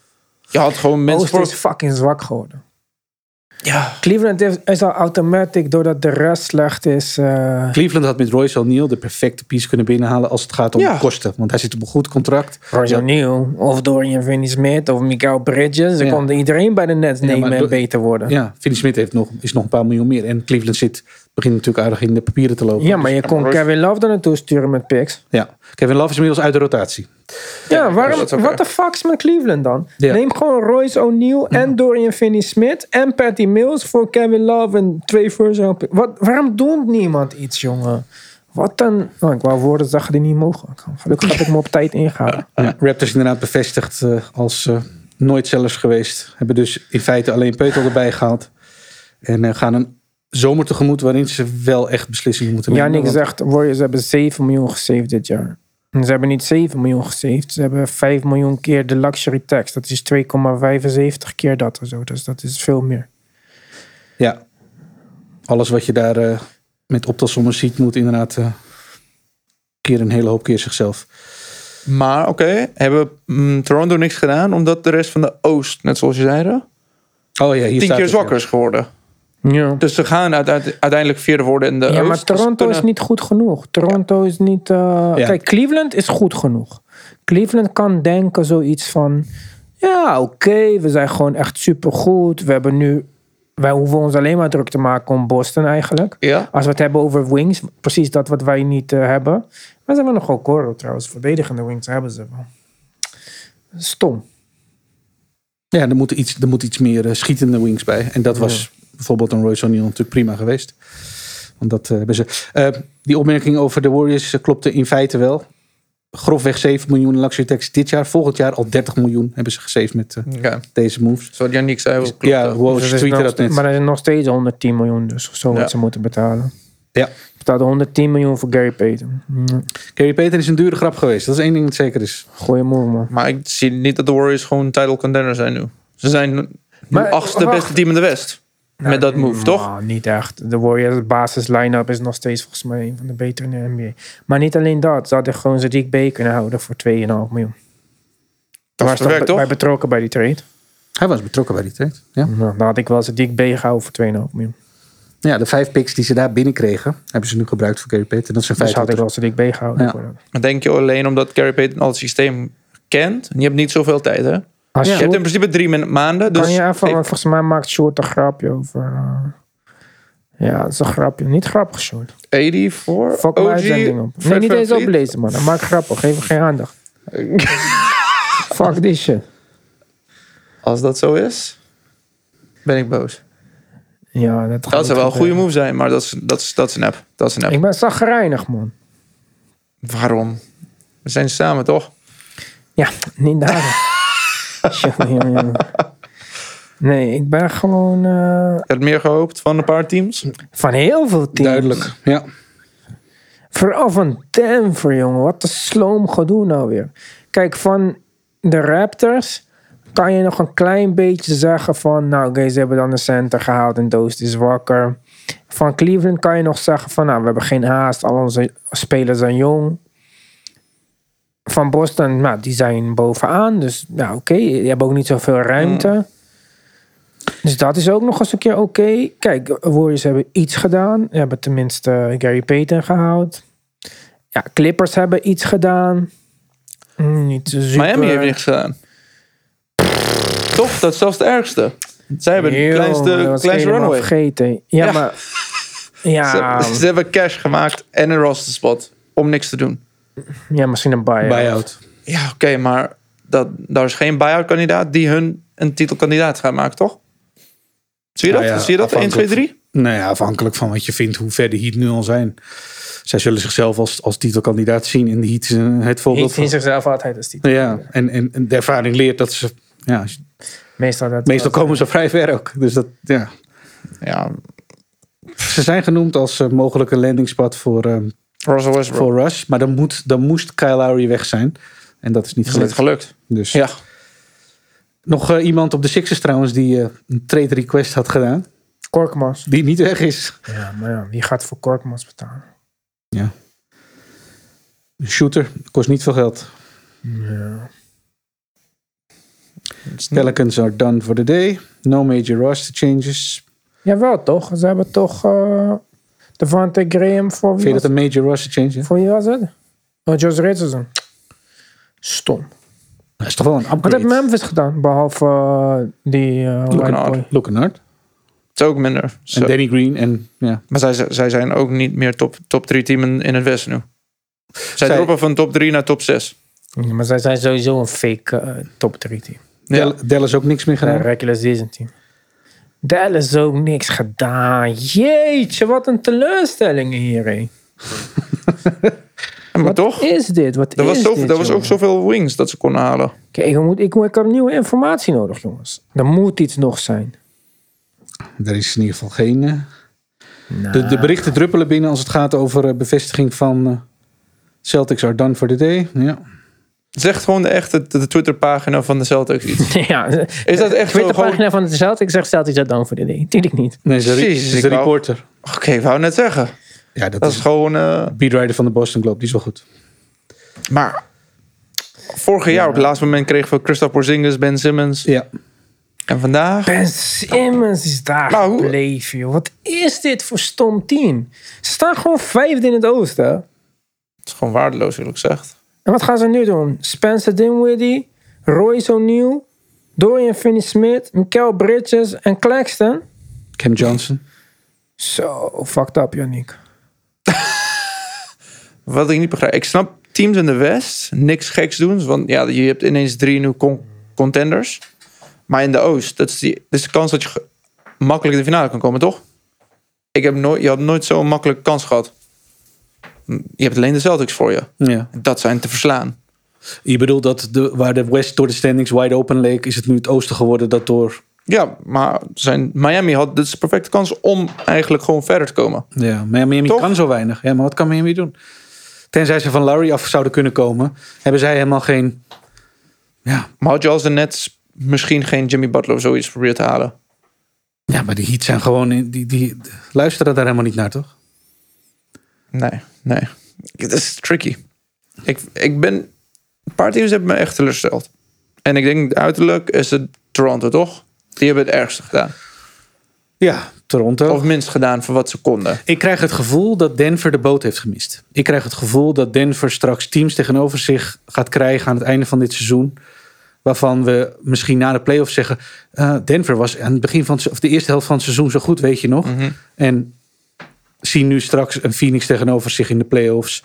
Speaker 1: Je had gewoon mensen
Speaker 2: Oost
Speaker 1: voor...
Speaker 2: Oh, is fucking zwak geworden.
Speaker 1: Ja.
Speaker 2: Cleveland is, is al automatic doordat de rest slecht is. eh,
Speaker 3: Cleveland had met Royce O'Neal de perfecte piece kunnen binnenhalen als het gaat om
Speaker 1: Ja.
Speaker 3: kosten. Want hij zit op een goed contract.
Speaker 2: Royce O'Neal of Dorian Finney-Smith of Mikael Bridges. Ze
Speaker 3: Ja.
Speaker 2: konden iedereen bij de net nemen
Speaker 3: maar
Speaker 2: en
Speaker 3: do-
Speaker 2: beter worden. Ja,
Speaker 3: Ja, Finney Smith heeft nog, is nog een paar miljoen meer. En Cleveland zit, begint natuurlijk aardig in de papieren te lopen.
Speaker 2: maar je kon
Speaker 1: Royce-
Speaker 2: Kevin Love er naartoe sturen met picks.
Speaker 3: Ja. Kevin Love is inmiddels uit de rotatie.
Speaker 2: Ja, waarom,
Speaker 1: dat is ook
Speaker 2: wat
Speaker 1: erg.
Speaker 2: de fuck is met Cleveland dan?
Speaker 3: Ja.
Speaker 2: Neem gewoon Royce O'Neal en Dorian Finney-Smith en Patty Mills voor Kevin Love en twee first round pick- Wat, Waarom doet niemand iets, jongen? Wat dan? Oh, ik wou woorden zeggen die niet mogen. Gelukkig heb ik me op tijd ingehouden.
Speaker 3: Ja. Eh, Raptors inderdaad bevestigd eh, als eh, nooit sellers geweest. Hebben dus in feite alleen Peutel erbij gehaald. En eh, gaan een zomer tegemoet waarin ze wel echt beslissingen moeten nemen.
Speaker 2: Janik
Speaker 3: Want-
Speaker 2: zegt, Warriors hebben 7 miljoen gesaved dit jaar. En ze hebben niet 7 miljoen gesaved. Ze hebben 5 miljoen keer de luxury tax. Dat is 2,75 keer dat of zo. Dus dat is veel meer.
Speaker 3: Ja. Alles wat je daar eh, met optelsommen ziet, moet inderdaad eh, keer een hele hoop keer zichzelf.
Speaker 1: Maar oké, hebben mm, Toronto niks gedaan omdat de rest van de Oost, net zoals je zei,
Speaker 3: Oh ja, hier
Speaker 1: tien
Speaker 3: staat
Speaker 1: keer
Speaker 3: het, ja.
Speaker 1: zwakker is geworden.
Speaker 2: Ja,
Speaker 1: Dus ze gaan uit- uit- uiteindelijk vierde worden in de Oost.
Speaker 2: maar
Speaker 1: Dus ze
Speaker 2: Toronto is
Speaker 1: kunnen-
Speaker 2: niet goed genoeg. Toronto is niet... eh,
Speaker 3: Ja.
Speaker 2: Kijk, Cleveland is goed genoeg. Cleveland kan denken zoiets van... Ja, oké, we zijn gewoon echt supergoed. We hebben nu... Wij hoeven ons alleen maar druk te maken om Boston eigenlijk.
Speaker 1: Ja,
Speaker 2: Als we het hebben over wings, precies dat wat wij niet eh, hebben. Maar ze hebben nog wel Coro trouwens. Verdedigende wings hebben ze wel. Stom.
Speaker 3: Ja, er moet iets, er moet iets meer eh, schietende wings bij. En dat was bijvoorbeeld een Royce O'Neal natuurlijk prima geweest. Want dat eh, hebben ze. Eh, die opmerking over de Warriors eh, klopte in feite wel. Grofweg 7 miljoen luxury tax dit jaar. Volgend jaar al 30 miljoen hebben ze gesaved met eh,
Speaker 1: oké.
Speaker 3: deze moves.
Speaker 1: Zoals Yannick zei, wel klopt.
Speaker 3: ja, wow,
Speaker 2: Dus
Speaker 3: ze
Speaker 2: er is
Speaker 3: tweeten
Speaker 2: nog
Speaker 3: dat net.
Speaker 2: ste- Maar er is nog steeds 110 miljoen, dus zo
Speaker 1: Ja.
Speaker 2: wat ze moeten betalen.
Speaker 3: Ja.
Speaker 2: Ze betalen 110 miljoen voor Gary Payton. Hm,
Speaker 3: Gary Peter is een dure grap geweest. Dat is één ding dat zeker is.
Speaker 2: Goeie move, man.
Speaker 1: Maar ik zie niet dat de Warriors gewoon title contender zijn nu. Ze zijn nu
Speaker 2: Maar,
Speaker 1: achtste
Speaker 2: wacht.
Speaker 1: beste team in de West. met dat move,
Speaker 2: Nou,
Speaker 1: toch?
Speaker 2: Niet echt. De Warriors basis line-up is nog steeds volgens mij een van de betere in de NBA. Maar niet alleen dat. Ze hadden gewoon Sadiq Bay kunnen houden voor 2,5 miljoen.
Speaker 1: Dat
Speaker 2: Waar
Speaker 1: is
Speaker 2: is
Speaker 1: verwerkt, toch?
Speaker 2: bij betrokken bij die trade?
Speaker 3: Hij was betrokken bij die trade. Ja.
Speaker 2: Nou, dan had ik wel Sadiq Bay gehouden voor 2,5 miljoen.
Speaker 3: ja, de vijf picks die ze daar binnenkregen, hebben ze nu gebruikt voor Gary Peter. Dat is een
Speaker 2: Dus
Speaker 3: feit.
Speaker 2: had ik wel Sadiq Bay gehouden.
Speaker 3: Ja.
Speaker 2: voor dat.
Speaker 1: Maar denk je alleen omdat Gary Payton al het systeem kent? En je hebt niet zoveel tijd, hè?
Speaker 2: Als
Speaker 1: Je hebt
Speaker 2: Short-
Speaker 1: in principe drie min- maanden. Dus
Speaker 2: kan je even,
Speaker 1: Hey,
Speaker 2: want volgens mij maakt Short een grapje over... eh, ja, het is een grapje. Niet grappig, Short.
Speaker 1: 80 voor
Speaker 2: Fuck
Speaker 1: OG,
Speaker 2: mijn uitzending op. Nee,
Speaker 1: Fred
Speaker 2: niet eens
Speaker 1: VanVleet.
Speaker 2: oplezen, man. Dat maakt grappig. Geef er geen aandacht. Fuck die shit.
Speaker 1: Als dat zo is, ben ik boos.
Speaker 2: Ja, dat, gaat
Speaker 1: Dat zou wel een
Speaker 2: niet
Speaker 1: goede
Speaker 2: gebeuren.
Speaker 1: move zijn, maar dat is, dat is, dat is een app. Dat is een app.
Speaker 2: Ik ben zagrijnig, man.
Speaker 1: Waarom? We zijn samen, toch?
Speaker 2: Ja, niet daar. Jongen, jongen, jongen. Nee, ik ben gewoon eh,
Speaker 1: Je had meer gehoopt van een paar teams.
Speaker 2: van heel veel teams.
Speaker 3: Duidelijk. Ja.
Speaker 2: Vooral van Denver, jongen. Wat een sloom gedoe nou weer. Kijk, van de Raptors kan je nog een klein beetje zeggen van... Nou, oké, ze hebben dan de center gehaald en Doost is wakker. Van Cleveland kan je nog zeggen van... Nou, we hebben geen haast. Al onze spelers zijn jong. Van Boston, nou, die zijn bovenaan. Dus, nou, oké. die hebben ook niet zoveel ruimte.
Speaker 1: Mm.
Speaker 2: Dus dat is ook nog eens een keer oké. Kijk, Warriors hebben iets gedaan. Ze hebben tenminste Gary Payton gehaald. Ja, Clippers hebben iets gedaan. Mm, Niet zo super.
Speaker 1: Miami
Speaker 3: eh,
Speaker 1: heeft niks gedaan. Toch? Dat is zelfs het ergste. Zij hebben de
Speaker 2: Yo, dat
Speaker 1: kleinste,
Speaker 2: was
Speaker 1: kleinste
Speaker 2: helemaal
Speaker 1: runway.
Speaker 2: vergeten. Ja,
Speaker 1: Ja.
Speaker 2: maar... Ja,
Speaker 1: Ze, ze hebben cash gemaakt en een roster spot om niks te doen.
Speaker 2: ja, misschien een buyout.
Speaker 3: Buyout.
Speaker 1: Ja, oké, maar dat, daar is geen buy-out kandidaat die hun een titelkandidaat gaat maken, toch? Zie je dat?
Speaker 3: Nou ja,
Speaker 1: Zie je dat? 1, 2,
Speaker 3: afhankelijk-
Speaker 1: 3?
Speaker 3: Nou ja, afhankelijk van wat je vindt, hoe ver de Heat nu al zijn. Zij zullen zichzelf als, als titelkandidaat zien. En de Heat is een- het voorbeeld
Speaker 2: Heat
Speaker 3: van...
Speaker 2: zien zichzelf altijd als titel.
Speaker 3: Ja, en, en, en de ervaring leert dat ze... Ja,
Speaker 2: Meestal, dat
Speaker 3: meestal komen ze vrij ver ook. Dus dat, ja.
Speaker 1: Ja,
Speaker 3: Ze zijn genoemd als eh, mogelijke landingspad voor, eh,
Speaker 1: Russell Westbrook.
Speaker 3: voor Russ. Maar dan, moet, dan moest Kyle Lowry weg zijn. En dat is niet
Speaker 1: is niet
Speaker 3: gelukt.
Speaker 1: gelukt.
Speaker 3: Dus
Speaker 1: Ja.
Speaker 3: nog eh, iemand op de Sixers trouwens die eh, een trade request had gedaan.
Speaker 2: Korkmans.
Speaker 3: Die niet weg is.
Speaker 2: Ja, maar ja, wie gaat voor Korkmans betalen?
Speaker 3: Een shooter. Kost niet veel geld.
Speaker 2: Ja.
Speaker 3: Pelicans are done for the day. No major roster changes.
Speaker 2: Jawel, toch? Ze hebben toch eh Devante Graham voor wie,
Speaker 3: Vind je
Speaker 2: was,
Speaker 3: dat een major roster change? hè?
Speaker 2: voor wie was het? Oh, Josh Richardson. Stom.
Speaker 3: Dat is toch wel een
Speaker 2: Wat heeft
Speaker 3: upgrade.
Speaker 2: Memphis gedaan? Behalve eh, die eh white
Speaker 1: Kennard.
Speaker 2: boy.
Speaker 3: Lookenard.
Speaker 1: Het is ook minder. Zo.
Speaker 3: En Danny Green. En ja,
Speaker 1: Maar zij, zij zijn ook niet meer top, top 3 team in, in het Westen nu. Zij,
Speaker 3: Zij-
Speaker 1: droppen van top 3 naar top 6.
Speaker 2: Ja, maar zij zijn sowieso een fake eh, top 3 team.
Speaker 1: Ja.
Speaker 3: Dell- Dallas ook niks meer gedaan.
Speaker 2: Een regular season team. Dallas ook niks gedaan. Jeetje, wat een teleurstelling hierin.
Speaker 1: Maar toch?
Speaker 2: Is dit? Wat
Speaker 1: Er was,
Speaker 2: is
Speaker 1: zoveel,
Speaker 2: dit,
Speaker 1: er was ook
Speaker 2: jongen?
Speaker 1: zoveel wings dat ze konden halen.
Speaker 2: Kijk, ik, moet, ik, moet- ik heb nieuwe informatie nodig, jongens. Er moet iets nog zijn.
Speaker 3: Er is in ieder geval geen... eh,
Speaker 2: Nou,
Speaker 3: De, de berichten druppelen binnen als het gaat over eh, bevestiging van eh, Celtics are done for the day. Ja.
Speaker 1: Zegt gewoon de echte de, de Twitterpagina van de Celtics iets.
Speaker 2: ja,
Speaker 1: Is dat echt zo
Speaker 2: Twitterpagina
Speaker 1: gewoon...
Speaker 2: pagina van de Celtics zegt Celtics dat dan voor de ding. Tuurlijk niet.
Speaker 3: Nee, ze
Speaker 1: Jezus,
Speaker 3: is de
Speaker 1: ik wou-
Speaker 3: reporter.
Speaker 1: Oké, ik wou net zeggen.
Speaker 3: Ja, dat,
Speaker 1: Dat is
Speaker 3: is
Speaker 1: gewoon... eh,
Speaker 3: de beatwriter van de Boston Globe. Die is wel goed.
Speaker 1: maar... Vorig jaar op het laatste moment kregen we Christophe Porzingis, Ben Simmons.
Speaker 3: Ja.
Speaker 1: En vandaag...
Speaker 2: Ben Simmons is daar
Speaker 1: Maar hoe-
Speaker 2: gebleven, joh. Wat is dit voor stom team? Ze staan gewoon vijfde in het oosten.
Speaker 1: Het is gewoon waardeloos, eerlijk gezegd.
Speaker 2: En wat gaan ze nu doen? Spencer Dinwiddie, Royce O'Neal, Dorian Finney-Smith, Mikael Bridges en Claxton.
Speaker 3: Cam Johnson.
Speaker 2: Zo, fucked up, Yannick.
Speaker 1: Wat ik niet begrijp. Ik snap teams in de West niks geks doen. Want ja, je hebt ineens drie nu con- contenders. Maar in de Oost, dat is, die, dat is de kans dat je ge- makkelijk in de finale kan komen, toch? Ik heb nooit, je had nooit zo'n makkelijke kans gehad. Je hebt alleen de Celtics voor je.
Speaker 3: Ja.
Speaker 1: Dat zijn te verslaan.
Speaker 3: Je bedoelt dat de, waar de West door de standings wide open leek, is het nu het oosten geworden dat door...
Speaker 1: Ja, maar zijn, Miami had dit is de perfecte kans om eigenlijk gewoon verder te komen.
Speaker 3: Ja, maar Miami
Speaker 1: Toch?
Speaker 3: kan zo weinig. Ja, maar wat kan Miami doen? Tenzij ze van Larry af zouden kunnen komen, hebben zij helemaal geen... Ja,
Speaker 1: Maar had je als de Nets misschien geen Jimmy Butler of zoiets geprobeerd te halen?
Speaker 3: ja maar die Heat zijn gewoon... in- Die, die, luisteren daar helemaal niet naar, toch?
Speaker 1: Nee, nee. Het is tricky. Ik, ik ben... Een paar teams hebben me echt teleurgesteld. En ik denk uiterlijk is het Toronto, toch? Die hebben het ergste gedaan.
Speaker 3: Ja, Toronto.
Speaker 1: Of minst gedaan voor wat ze konden.
Speaker 3: Ik krijg het gevoel dat Denver de boot heeft gemist. Ik krijg het gevoel dat Denver straks teams tegenover zich gaat krijgen aan het einde van dit seizoen. Waarvan we misschien na de playoffs zeggen. eh, Denver was aan het begin van het se- of de eerste helft van het seizoen zo goed, weet je nog. En zien nu straks een Phoenix tegenover zich in de playoffs.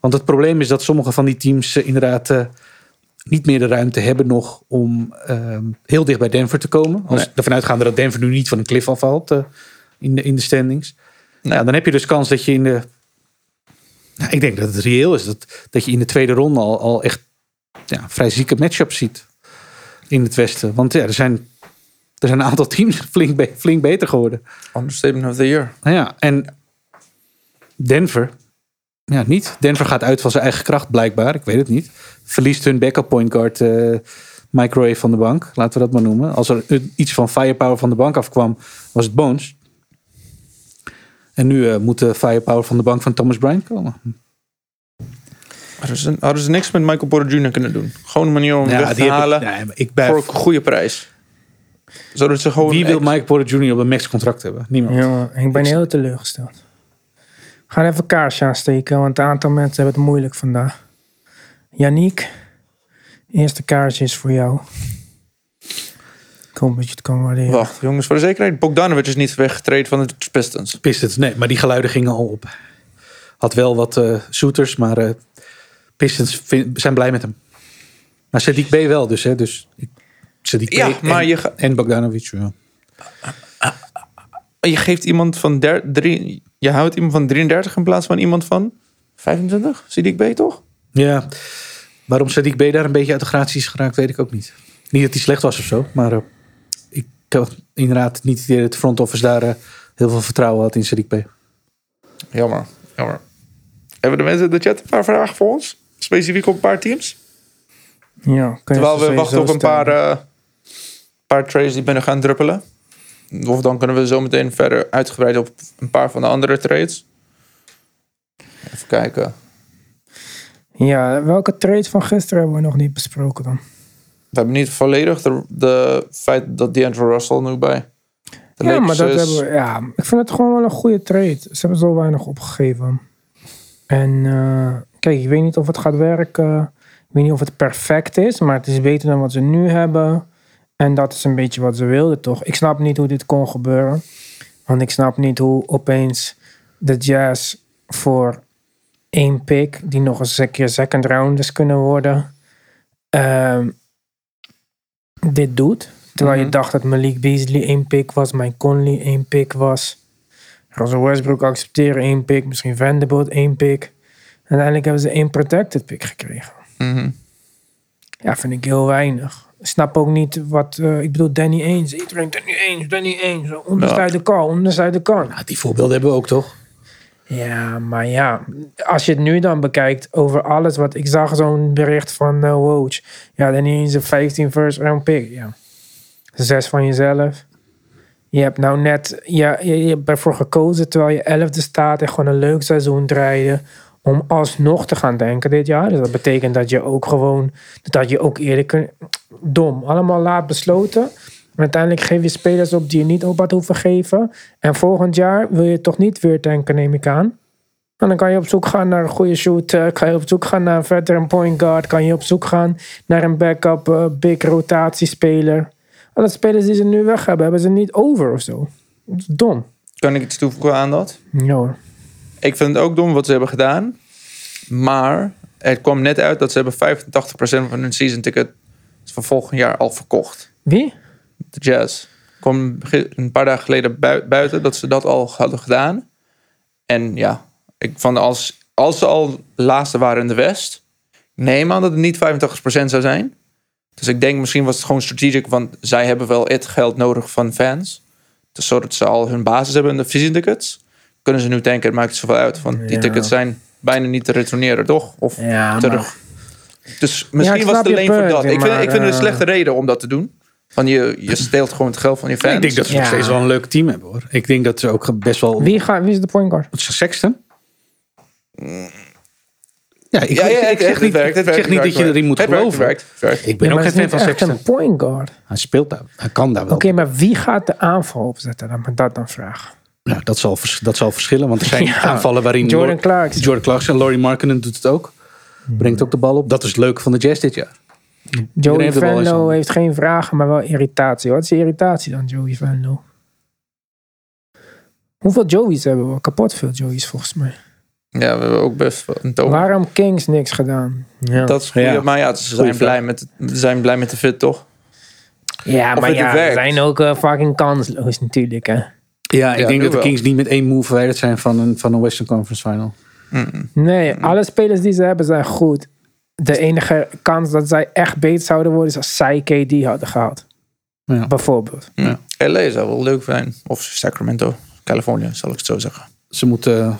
Speaker 3: Want het probleem is dat sommige van die teams eh, inderdaad eh, niet meer de ruimte hebben nog om ehm, heel dicht bij Denver te komen. Als
Speaker 1: Nee.
Speaker 3: ervan uitgaande dat Denver nu niet van een cliff afvalt eh, in, de, in de standings.
Speaker 1: Nee.
Speaker 3: Ja, dan heb je dus kans dat je in de. Nou, ik denk dat het reëel is dat, dat je in de tweede ronde al, al echt ja, vrij zieke matchups ziet in het Westen. Want ja, er zijn, er zijn een aantal teams flink, be- flink beter geworden.
Speaker 1: Understatement of the year.
Speaker 3: Nou ja, en Denver. Ja, niet. Denver gaat uit van zijn eigen kracht, blijkbaar. Ik weet het niet. Verliest hun backup point guard eh, Mike Ray van de bank. Laten we dat maar noemen. Als er een- iets van firepower van de bank afkwam, was het Bones. En nu eh, moet de firepower van de bank van Thomas Bryant komen.
Speaker 1: Hadden ze, hadden ze niks met Michael Porter Jr. kunnen doen. Gewoon een manier om hem weg te
Speaker 3: heb ik-
Speaker 1: halen
Speaker 3: nee, maar ik ben,
Speaker 1: voor een goede prijs. Zodat ze gewoon...
Speaker 3: wie wil
Speaker 1: echt-
Speaker 3: Mike Porter Jr. op een max contract hebben? Niemand.
Speaker 2: Jongen, ik ben heel teleurgesteld. We gaan even een kaarsje aansteken, want een aantal mensen hebben het moeilijk vandaag. Yannick, eerste kaarsje is voor jou. Ik hoop dat je het kan waarderen.
Speaker 1: Wacht, jongens, voor de zekerheid. Bogdanovic is niet weggetreden van de Pistons.
Speaker 3: Pistons, nee, maar die geluiden gingen al op. Had wel wat eh shooters, maar eh Pistons vin- zijn blij met hem. Maar Sadiq B wel dus, hè? Dus ik- Sadiq B
Speaker 1: Ja, maar
Speaker 3: en,
Speaker 1: je ga-
Speaker 3: en Bogdanovic. Ja.
Speaker 1: Je geeft iemand van der, drie, je houdt iemand van 33 in plaats van iemand van 25? Sidik B toch?
Speaker 3: ja. Waarom Sadiq B daar een beetje uit de gratie is geraakt, weet ik ook niet. Niet dat hij slecht was of zo, maar eh, ik had inderdaad niet het idee dat de front office daar eh, heel veel vertrouwen had in Sadiq B.
Speaker 1: Jammer, jammer. Hebben de mensen in de chat een paar vragen voor ons? Specifiek op een paar teams?
Speaker 2: Ja, kun je
Speaker 1: Terwijl
Speaker 2: ze
Speaker 1: we wachten op
Speaker 2: sowieso
Speaker 1: een paar,
Speaker 2: stellen.
Speaker 1: eh, paar trades die binnen gaan druppelen. Of dan kunnen we zo meteen verder uitgebreid op een paar van de andere trades. Even kijken. eh,
Speaker 2: Ja, welke trade van gisteren hebben we nog niet besproken dan?
Speaker 1: We hebben niet volledig de, de feit dat DeAndre Russell nu bij de
Speaker 2: ja, maar
Speaker 1: Lakers
Speaker 2: dat
Speaker 1: is.
Speaker 2: hebben we. Ja, ik vind het gewoon wel een goede trade. Ze hebben zo weinig opgegeven. En eh, kijk, ik weet niet of het gaat werken. Ik weet niet of het perfect is, maar het is beter dan wat ze nu hebben. En dat is een beetje wat ze wilden, toch? Ik snap niet hoe dit kon gebeuren. Want ik snap niet hoe opeens de Jazz voor één pick, die nog eens een keer second rounders kunnen worden, ehm, dit doet. Terwijl
Speaker 1: Mhm.
Speaker 2: je dacht dat Malik Beasley één pick was, Mike Conley één pick was. Russell Westbrook accepteren één pick, misschien Vanderbilt één pick. En uiteindelijk hebben ze één protected pick gekregen.
Speaker 1: Mhm.
Speaker 2: Ja, vind ik heel weinig. Ik snap ook niet wat... eh, ik bedoel, Danny Eens. Iedereen, Danny Eens, Danny Eens. Onderzijde kan, onderzijde kan.
Speaker 3: Nou, die voorbeelden hebben we ook, toch?
Speaker 2: Ja, maar ja. Als je het nu dan bekijkt over alles wat... Ik zag zo'n bericht van eh Woj. Ja, Danny Eens een 15 first round pick. Ja. Zes van jezelf. Je hebt nou net... Ja, je, je hebt ervoor gekozen terwijl je elfde staat... en gewoon een leuk seizoen draaide... om alsnog te gaan denken dit jaar. Dus dat betekent dat je ook gewoon... dat had je ook eerder kunt... Dom. Allemaal laat besloten. En uiteindelijk geef je spelers op die je niet op had hoeven geven. En volgend jaar wil je toch niet weer tanken, neem ik aan. En dan kan je op zoek gaan naar een goede shooter. Kan je op zoek gaan naar een veteran point guard. Kan je op zoek gaan naar een backup eh, big rotatiespeler. Alle spelers die ze nu weg hebben, hebben ze niet over of zo. Dat is dom.
Speaker 1: Kan ik iets toevoegen aan dat?
Speaker 2: Ja hoor.
Speaker 1: Ik vind het ook dom wat ze hebben gedaan. Maar het kwam net uit dat ze hebben 85% van hun season ticket van volgend jaar al verkocht.
Speaker 2: Wie?
Speaker 1: De Jazz. kwam ge- een paar dagen geleden bui- buiten dat ze dat al hadden gedaan. En ja, ik van als, als ze al laatste waren in de West, neem aan dat het niet 85% zou zijn. Dus ik denk misschien was het gewoon strategic, want zij hebben wel het geld nodig van fans. Dus zodat ze al hun basis hebben in de season tickets, kunnen ze nu denken, het maakt niet zoveel uit. Want die
Speaker 2: Ja.
Speaker 1: tickets zijn bijna niet te retourneren, toch? Of
Speaker 2: Ja,
Speaker 1: terug. Dus misschien
Speaker 2: ik
Speaker 1: was
Speaker 2: snap
Speaker 1: het
Speaker 2: je
Speaker 1: alleen voor
Speaker 2: punt,
Speaker 1: dat. Ik vind,
Speaker 2: maar,
Speaker 1: ik vind het een
Speaker 2: eh,
Speaker 1: slechte reden om dat te doen. Van je, je steelt gewoon het geld van je fans.
Speaker 3: Ik denk dat ze nog
Speaker 2: Ja.
Speaker 3: steeds wel een leuk team hebben, hoor. Ik denk dat ze ook best wel...
Speaker 2: Wie, gaat, wie is de point guard?
Speaker 3: Sexton? Ja, ik,
Speaker 1: ja, ja,
Speaker 3: ik,
Speaker 1: het-
Speaker 3: zeg
Speaker 1: het
Speaker 3: niet,
Speaker 1: werkt, het
Speaker 3: ik zeg
Speaker 1: werkt,
Speaker 3: niet
Speaker 1: het
Speaker 3: dat je
Speaker 1: werkt.
Speaker 3: erin moet
Speaker 1: Het werkt,
Speaker 3: geloven.
Speaker 1: het werkt, het werkt.
Speaker 3: Ik ben
Speaker 2: Ja,
Speaker 3: ook
Speaker 2: maar
Speaker 3: geen
Speaker 2: het is
Speaker 3: fan
Speaker 2: niet
Speaker 3: van
Speaker 2: echt
Speaker 3: Sexton.
Speaker 2: een point guard.
Speaker 3: Hij speelt daar. Hij kan daar wel.
Speaker 2: Oké, maar wie gaat de aanval opzetten? Laat me dat dan vragen.
Speaker 3: Nou, dat, zal, vers- dat zal verschillen, want er zijn
Speaker 2: Ja.
Speaker 3: aanvallen waarin...
Speaker 2: Jordan
Speaker 3: Lor-
Speaker 2: Clarkson.
Speaker 3: Jordan Clarkson. Laurie Markkinen doet het ook. Brengt ook de bal op. Dat is het leuke van de Jazz dit jaar. Iedereen
Speaker 2: Joey
Speaker 3: heeft de bal in zijn
Speaker 2: Venlo
Speaker 3: handen.
Speaker 2: heeft geen vragen, maar wel irritatie. Wat is die irritatie dan, Joey Venlo? Hoeveel Joey's hebben we? Kapot veel Joey's volgens mij.
Speaker 1: Ja, we hebben ook best wel een toon.
Speaker 2: Waarom Kings niks gedaan? Ja,
Speaker 1: Oh. Dat is goed.
Speaker 3: Ja.
Speaker 1: Maar ja, ze
Speaker 3: Goeie
Speaker 1: zijn blij, met, ze zijn blij met de fit, toch?
Speaker 2: ja
Speaker 1: of
Speaker 2: maar
Speaker 1: het
Speaker 2: ja,
Speaker 1: werkt.
Speaker 2: ze zijn ook eh, fucking kansloos natuurlijk. Hè.
Speaker 3: Ja, ik
Speaker 1: Ja,
Speaker 3: denk
Speaker 1: nu
Speaker 3: dat de
Speaker 1: wel.
Speaker 3: Kings niet met één move verwijderd zijn van een, van een Western Conference Final.
Speaker 2: Nee, alle spelers die ze hebben zijn goed. De enige kans dat zij echt beter zouden worden is als zij KD hadden gehaald.
Speaker 3: Ja.
Speaker 2: Bijvoorbeeld.
Speaker 1: LA Hm. zou wel leuk zijn. Of Sacramento, Californië, zal ik het zo zeggen.
Speaker 3: Ze moeten eh,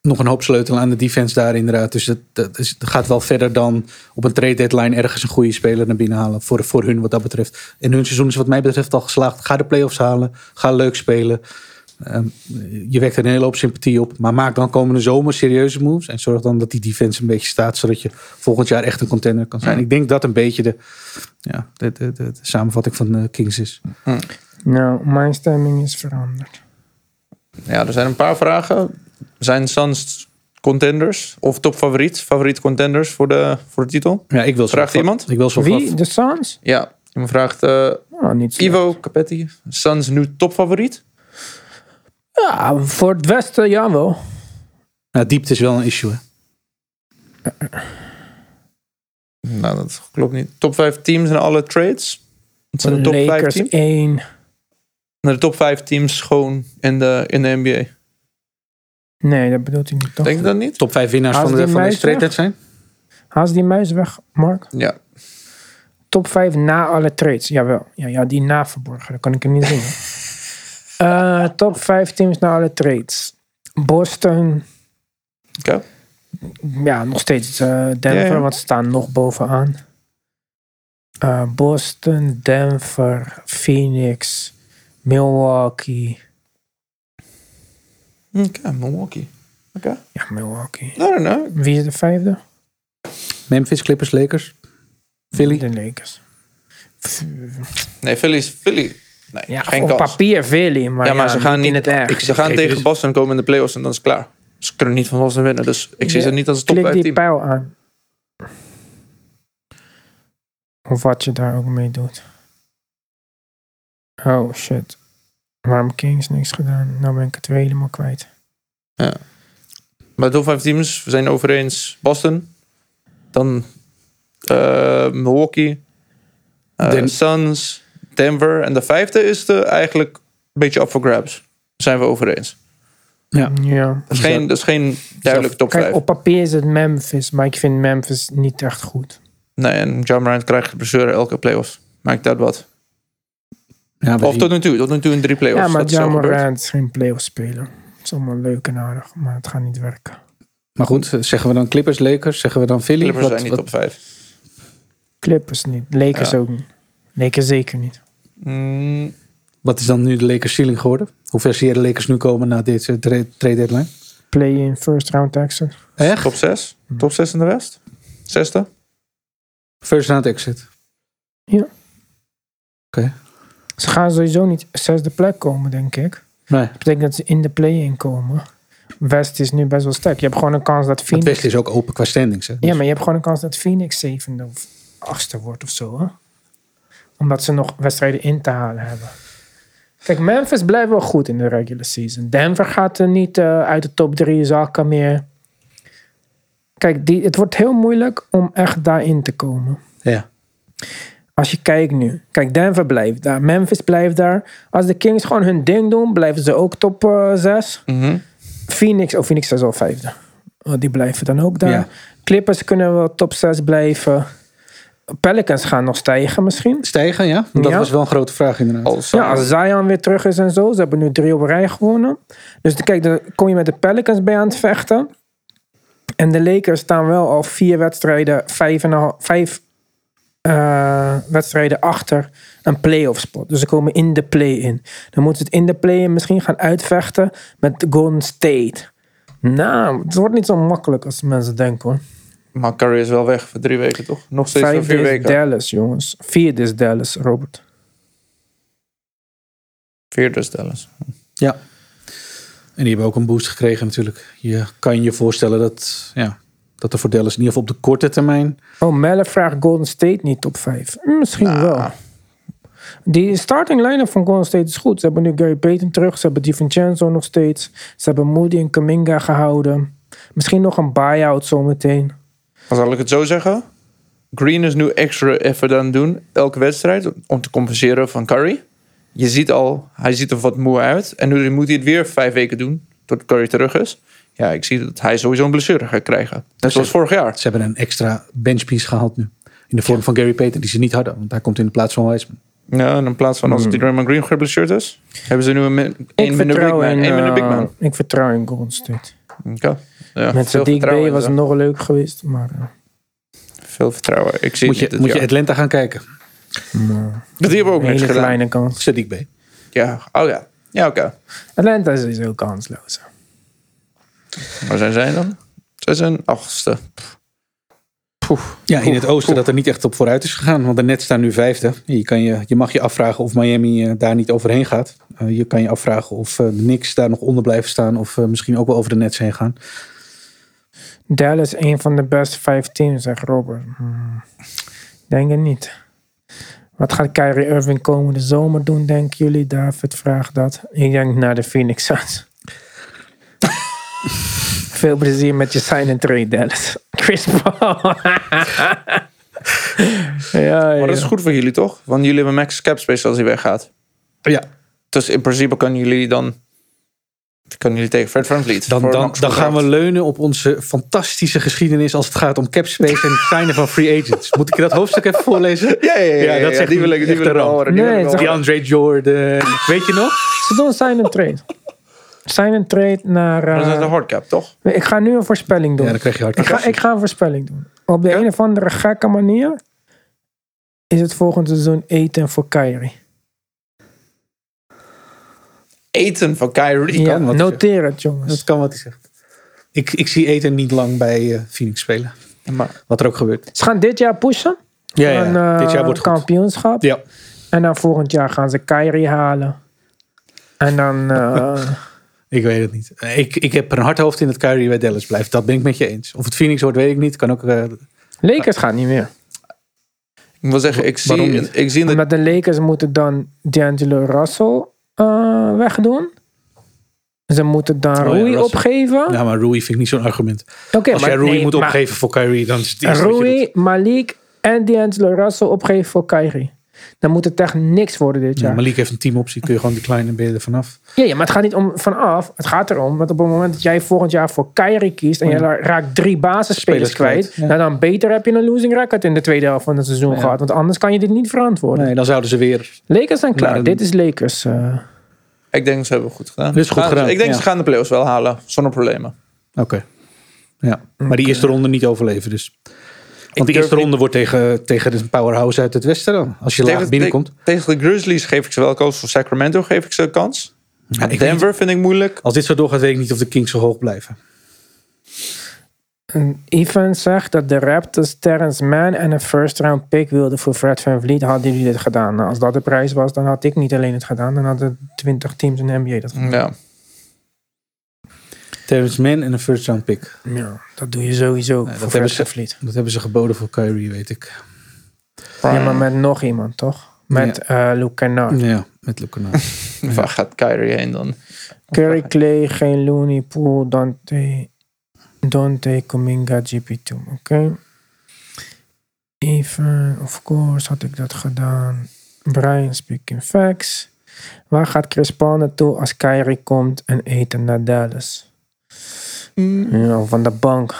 Speaker 3: nog een hoop sleutelen aan de defense daar inderdaad. Dus het, dat is- het gaat wel verder dan op een trade deadline ergens een goede speler naar binnen halen. Voor, voor hun wat dat betreft. En hun seizoen is wat mij betreft al geslaagd. Ga de playoffs halen. Ga leuk spelen. Ehm, je wekt er een hele hoop sympathie op. Maar maak dan komende zomer serieuze moves. En zorg dan dat die defense een beetje staat. Zodat je volgend jaar echt een contender kan zijn. Ik denk dat een beetje de, ja, de, de, de, de samenvatting van eh, Kings is.
Speaker 2: Nou, mijn stemming is veranderd.
Speaker 1: Ja, er zijn een paar vragen. Zijn Suns contenders of topfavoriet? Favoriet contenders voor de, voor de titel?
Speaker 3: Ja, ik wil zo
Speaker 1: Vraagt
Speaker 3: van-
Speaker 1: iemand?
Speaker 3: Ik wil zo
Speaker 2: Wie?
Speaker 3: van-
Speaker 2: De Suns?
Speaker 1: Ja, iemand vraagt... eh,
Speaker 2: Oh, niet slecht.
Speaker 1: Ivo Capetti, Suns nu topfavoriet?
Speaker 2: Ja, voor het Westen, jawel.
Speaker 3: Nou, diepte is wel een issue. Hè?
Speaker 1: nou, dat klopt niet. Top 5 teams in alle trades. Dat zijn de top 5
Speaker 2: Lakers
Speaker 1: teams.
Speaker 2: 1.
Speaker 1: Naar de top 5 teams gewoon in de, in de NBA.
Speaker 2: Nee, dat bedoelt hij niet toch?
Speaker 1: Denk je dat niet?
Speaker 3: Top 5 winnaars
Speaker 2: Haast
Speaker 3: van de,
Speaker 2: die
Speaker 3: van de
Speaker 2: meisje?
Speaker 3: straight net zijn?
Speaker 2: Haast die muis weg, Mark.
Speaker 1: Ja.
Speaker 2: Top 5 na alle trades. Jawel. Ja, ja die na verborgen. Dat kan ik hem niet zien. hè. Eh, top 5 teams na alle trades. Boston.
Speaker 1: Oké.
Speaker 2: Ja, nog steeds eh, Denver,
Speaker 1: Ja, ja.
Speaker 2: want ze staan nog bovenaan. Eh, Boston, Denver, Phoenix, Milwaukee.
Speaker 1: Oké, Milwaukee. Oké.
Speaker 2: Ja, Milwaukee.
Speaker 1: I don't know.
Speaker 2: Wie is de vijfde?
Speaker 3: Memphis, Clippers, Lakers. Philly.
Speaker 2: De Lakers.
Speaker 1: Nee, Philly is Philly. Nee,
Speaker 2: Ja,
Speaker 1: geen
Speaker 2: op
Speaker 1: kans.
Speaker 2: papier Philly, maar,
Speaker 1: ja, maar
Speaker 2: ja,
Speaker 1: ze gaan,
Speaker 2: in
Speaker 1: niet,
Speaker 2: het echt.
Speaker 1: ik- ze gaan
Speaker 3: Geef
Speaker 1: tegen
Speaker 3: eens.
Speaker 1: Boston komen in de playoffs en dan is het klaar. Ze kunnen niet van Boston winnen, dus ik zie
Speaker 2: Ja,
Speaker 1: ze niet als een top
Speaker 2: Klik
Speaker 1: 5
Speaker 2: die
Speaker 1: team.
Speaker 2: pijl aan. Of wat je daar ook mee doet. Oh shit. Waarom Kings niks gedaan? Nou ben ik het weer helemaal kwijt.
Speaker 1: Maar de top 5 teams, we zijn over eens Boston, dan eh, Milwaukee, eh,
Speaker 3: Den-
Speaker 1: Suns, Denver. En de vijfde is de, eigenlijk een beetje up for grabs. Daar zijn we over eens.
Speaker 3: Ja.
Speaker 2: Ja.
Speaker 1: Dat is geen, dat is geen duidelijk top 5.
Speaker 2: Kijk, op papier is het Memphis, maar ik vind Memphis niet echt goed.
Speaker 1: Nee, en John Morant krijgt de blessure elke playoffs. Maakt dat wat.
Speaker 3: Ja,
Speaker 1: Of
Speaker 3: weet
Speaker 1: tot
Speaker 3: ik.
Speaker 1: nu toe, tot nu toe in drie playoffs.
Speaker 2: ja, maar
Speaker 1: dat is zo
Speaker 2: Jamal
Speaker 1: gebeurd.
Speaker 2: Rand is geen playoff speler. Het is allemaal leuk en aardig, maar het gaat niet werken.
Speaker 3: maar goed, zeggen we dan Clippers, Lakers? Zeggen we dan Philly?
Speaker 1: Clippers
Speaker 3: Wat-
Speaker 1: zijn niet
Speaker 3: wat-
Speaker 1: top 5.
Speaker 2: Clippers niet, Lakers
Speaker 1: Ja.
Speaker 2: ook niet. Lakers zeker niet.
Speaker 1: Mm,
Speaker 3: Wat is dan nu de Lakers ceiling geworden? Hoe ver zie je de Lakers nu komen na deze trade trade deadline?
Speaker 2: Play in first round exit.
Speaker 3: Echt?
Speaker 1: top 6.
Speaker 2: Mm.
Speaker 1: Top 6 in de West. Zesde.
Speaker 3: First round exit.
Speaker 2: Ze gaan sowieso niet zesde plek komen, denk ik.
Speaker 3: Nee,
Speaker 2: Dat betekent dat ze in de play-in komen. West is nu best wel sterk. Je hebt gewoon een kans dat
Speaker 3: het
Speaker 2: Phoenix...
Speaker 3: Westen is ook open qua standings. Hè?
Speaker 2: Ja, maar je hebt gewoon een kans dat Phoenix zevende of achtste wordt of zo. Hè? Omdat ze nog wedstrijden in te halen hebben. Kijk, Memphis blijft wel goed in de regular season. Denver gaat er niet eh, uit de top drie zakken meer. Kijk, die, het wordt heel moeilijk om echt daarin te komen.
Speaker 3: Ja.
Speaker 2: Als je kijkt nu. Kijk, Denver blijft daar. Memphis blijft daar. Als de Kings gewoon hun ding doen, blijven ze ook top eh, 6.
Speaker 1: Mhm.
Speaker 2: Phoenix, oh Phoenix is al vijfde. Oh, die blijven dan ook daar.
Speaker 3: Ja.
Speaker 2: Clippers kunnen wel top 6 blijven. Pelicans gaan nog stijgen misschien.
Speaker 3: Stijgen, ja? Dat
Speaker 2: Ja.
Speaker 3: was wel een grote vraag inderdaad.
Speaker 1: Als,
Speaker 2: Ja, als Zion weer terug is en zo. Ze hebben nu drie op rij gewonnen. Dus dan- kijk, dan kom je met de Pelicans bij aan het vechten. En de Lakers staan wel al vier wedstrijden, vijf, en een hal- vijf eh, wedstrijden achter een playoff spot. Dus ze komen in de play-in. Dan moeten ze het in de play-in misschien gaan uitvechten met Golden State. Nou, het wordt niet zo makkelijk als mensen denken hoor.
Speaker 1: Maar Curry is wel weg voor drie weken, toch? Nog steeds voor
Speaker 2: Vijfde
Speaker 1: vier
Speaker 2: is
Speaker 1: weken.
Speaker 2: Dallas, jongens. Vierde is Dallas, Robert.
Speaker 1: Vier dus Dallas.
Speaker 3: Ja. En die hebben ook een boost gekregen natuurlijk. Je kan je voorstellen dat, ja, dat er voor Dallas in ieder geval op de korte termijn...
Speaker 2: Oh, Melle vraagt Golden State niet top 5. Misschien
Speaker 1: Nou.
Speaker 2: wel. Die starting line-up van Golden State is goed. Ze hebben nu Gary Payton terug. Ze hebben DiVincenzo nog steeds. Ze hebben Moody en Kaminga gehouden. Misschien nog een buy-out zometeen.
Speaker 1: Maar zal ik het zo zeggen? Green is nu extra effort aan het doen, elke wedstrijd, om te compenseren van Curry. Je ziet al, hij ziet er wat moe uit. En nu moet hij het weer vijf weken doen, tot Curry terug is. Ja, ik zie dat hij sowieso een blessure gaat krijgen. Net zoals vorig jaar.
Speaker 3: Ze hebben een extra benchpiece gehaald nu. In de vorm van Gary Payton, die ze niet hadden. Want hij komt in de plaats van Wiseman.
Speaker 1: Ja, en in plaats van als die Draymond Green geblesseerd is, hebben ze nu een, min- één minder big man. één minder big
Speaker 2: eh,
Speaker 1: man.
Speaker 2: ik vertrouw in Golden State.
Speaker 1: Oké. Ja,
Speaker 2: Met
Speaker 1: veel
Speaker 2: Sadiq
Speaker 1: vertrouwen
Speaker 2: B
Speaker 1: in
Speaker 2: was
Speaker 1: ze.
Speaker 2: het nog leuk geweest. Maar eh,
Speaker 1: Veel vertrouwen. Ik zie
Speaker 3: Moet
Speaker 1: het
Speaker 3: je,
Speaker 1: niet
Speaker 3: moet
Speaker 1: dit
Speaker 3: je
Speaker 1: jaar.
Speaker 3: Atlanta gaan kijken.
Speaker 1: Dat die hebben ook
Speaker 2: een
Speaker 1: niks
Speaker 2: hele
Speaker 1: gedaan.
Speaker 2: kleine kans.
Speaker 3: Sadiq B.
Speaker 1: Ja, oh ja. Ja, oké.
Speaker 2: Atlanta is heel kansloos.
Speaker 1: Waar zijn zij dan? Zij zijn achtste.
Speaker 3: Ja, in het oosten dat er niet echt op vooruit is gegaan. Want de Nets staan nu vijfde. Je, kan je, je mag je afvragen of Miami eh, daar niet overheen gaat. Eh, je kan je afvragen of eh, de Knicks daar nog onder blijven staan. Of eh, misschien ook wel over de Nets heen gaan.
Speaker 2: Dallas is een van de beste vijf teams, zegt Robert. Hmm, Denk het niet. Wat gaat Kyrie Irving komende zomer doen, denken jullie? David vraagt dat. Ik denk naar de Phoenix Suns. Veel plezier met je sign and trade, Dallas. Chris Paul. Ja,
Speaker 1: Maar dat is
Speaker 2: ja.
Speaker 1: goed voor jullie toch? Want jullie hebben max cap space als hij weggaat.
Speaker 3: Ja,
Speaker 1: Dus in principe kunnen jullie dan. Kunnen jullie tegen Fred VanVleet.
Speaker 3: dan,
Speaker 1: voor
Speaker 3: dan,
Speaker 1: max
Speaker 3: dan gaan we
Speaker 1: contract.
Speaker 3: leunen op onze fantastische geschiedenis als het gaat om capspace en het signen van free agents. Moet ik dat hoofdstuk even voorlezen?
Speaker 1: Ja, ja, ja, ja, ja,
Speaker 3: dat zegt
Speaker 1: die wil ik,
Speaker 3: echt
Speaker 1: die wil
Speaker 3: een
Speaker 1: ik wel
Speaker 3: ramp.
Speaker 1: horen. die
Speaker 2: Nee,
Speaker 1: wil ik wel
Speaker 2: het
Speaker 1: horen.
Speaker 3: Die Andre Jordan, weet je nog?
Speaker 2: Ze doen sign and trade. Sign and trade naar... eh,
Speaker 1: Dan is het een hardcap, toch?
Speaker 2: ik ga nu een voorspelling doen.
Speaker 3: Ja, dan krijg je
Speaker 2: ik, ga,
Speaker 3: hard.
Speaker 2: ik ga een voorspelling doen. Op de een of andere gekke manier is het volgend seizoen eten voor Kyrie.
Speaker 1: Eten van Kyrie.
Speaker 2: Ja,
Speaker 3: kan wat
Speaker 2: noteer het
Speaker 3: Dat
Speaker 2: jongens.
Speaker 3: kan wat hij zegt. Ik, ik zie Eten niet lang bij eh, Phoenix spelen.
Speaker 1: Maar
Speaker 3: Wat er ook gebeurt.
Speaker 2: Ze gaan dit jaar pushen.
Speaker 3: Ja,
Speaker 2: Van, eh,
Speaker 3: dit jaar wordt
Speaker 2: het
Speaker 3: het goed.
Speaker 2: kampioenschap.
Speaker 3: Ja.
Speaker 2: En dan volgend jaar gaan ze Kyrie halen. En dan... eh,
Speaker 3: Ik weet het niet. Eh, Ik, ik heb een hard hoofd in dat Kyrie bij Dallas blijft. Dat ben ik met je eens. Of het Phoenix wordt, weet ik niet. Kan ook. eh,
Speaker 2: Lakers gaan niet meer.
Speaker 1: ik wil zeggen, ik
Speaker 3: Waarom
Speaker 1: zie,
Speaker 3: niet?
Speaker 1: ik zie in de
Speaker 2: Omdat de Lakers moeten dan D'Angelo Russell eh, wegdoen. Ze moeten dan
Speaker 3: Oh ja,
Speaker 2: Rui
Speaker 3: Russell.
Speaker 2: opgeven.
Speaker 3: ja, maar Rui vind ik niet zo'n argument.
Speaker 2: Oké,
Speaker 3: Als jij
Speaker 2: maar
Speaker 3: Rui
Speaker 2: nee,
Speaker 3: moet
Speaker 2: maar
Speaker 3: opgeven voor Kyrie, dan is het eerste wat je doet.
Speaker 2: Rui, Malik en D'Angelo Russell opgeven voor Kyrie. Dan moet het echt niks worden dit
Speaker 3: Ja,
Speaker 2: jaar. Ja,
Speaker 3: Malik heeft een teamoptie. Kun je gewoon decline en ben je er vanaf.
Speaker 2: ja, maar het gaat niet om vanaf. Het gaat erom dat op het moment dat jij volgend jaar voor Kyrie kiest... en je raakt drie basisspelers
Speaker 3: Spelers
Speaker 2: kwijt...
Speaker 3: kwijt, ja.
Speaker 2: nou dan beter heb je een losing record in de tweede helft van het seizoen gehad. Want anders kan je dit niet verantwoorden.
Speaker 3: Nee, dan zouden ze weer.
Speaker 2: Lakers zijn klaar.
Speaker 3: Maar dan-
Speaker 2: dit is Lakers. eh.
Speaker 1: Ik denk dat ze hebben goed gedaan.
Speaker 3: Dit is goed
Speaker 1: Gaan ze-
Speaker 3: gedaan,
Speaker 1: Ik denk
Speaker 3: ja.
Speaker 1: ze gaan de playoffs wel halen, zonder problemen.
Speaker 3: Oké. Ja. Maar die eerste ronde niet overleven, dus. Want die
Speaker 1: durf
Speaker 3: eerste
Speaker 1: niet-
Speaker 3: ronde wordt tegen, tegen een powerhouse uit het westen dan. Als je laag
Speaker 1: Tegen,
Speaker 3: binnenkomt.
Speaker 1: tegen- tegen de Grizzlies geef ik ze wel kans. Voor Sacramento geef ik ze een kans.
Speaker 3: Ja, ik weet niet-
Speaker 1: Denver vind ik moeilijk.
Speaker 3: als dit zo doorgaat, weet ik niet of de Kings zo hoog blijven.
Speaker 2: En Ivan zegt dat de Raptors Terrence Mann en een first round pick wilden voor Fred Van Vliet. Hadden jullie dit gedaan? Nou, als dat de prijs was, dan had ik niet alleen het gedaan. Dan hadden 20 teams in de NBA dat gedaan.
Speaker 1: Ja.
Speaker 3: Terrence Mann en een first round pick.
Speaker 2: Ja, dat doe je sowieso
Speaker 3: dat
Speaker 2: voor
Speaker 3: hebben
Speaker 2: Fred
Speaker 3: ze-
Speaker 2: Van Vliet.
Speaker 3: Dat hebben ze geboden voor Kyrie, weet ik.
Speaker 2: Ja, maar met nog iemand, toch? Met eh Luke Kennard.
Speaker 3: Ja, met Lukanas.
Speaker 1: Waar gaat Kyrie heen dan?
Speaker 2: Curry, Clay, geen Looney, Poole, Dante, Dante, Kuminga, GP2. Oké. Even, of course, had ik dat gedaan. Brian speaking facts. Waar gaat Chris Paul naartoe als Kyrie komt en eten naar Dallas? Ja, van de bank.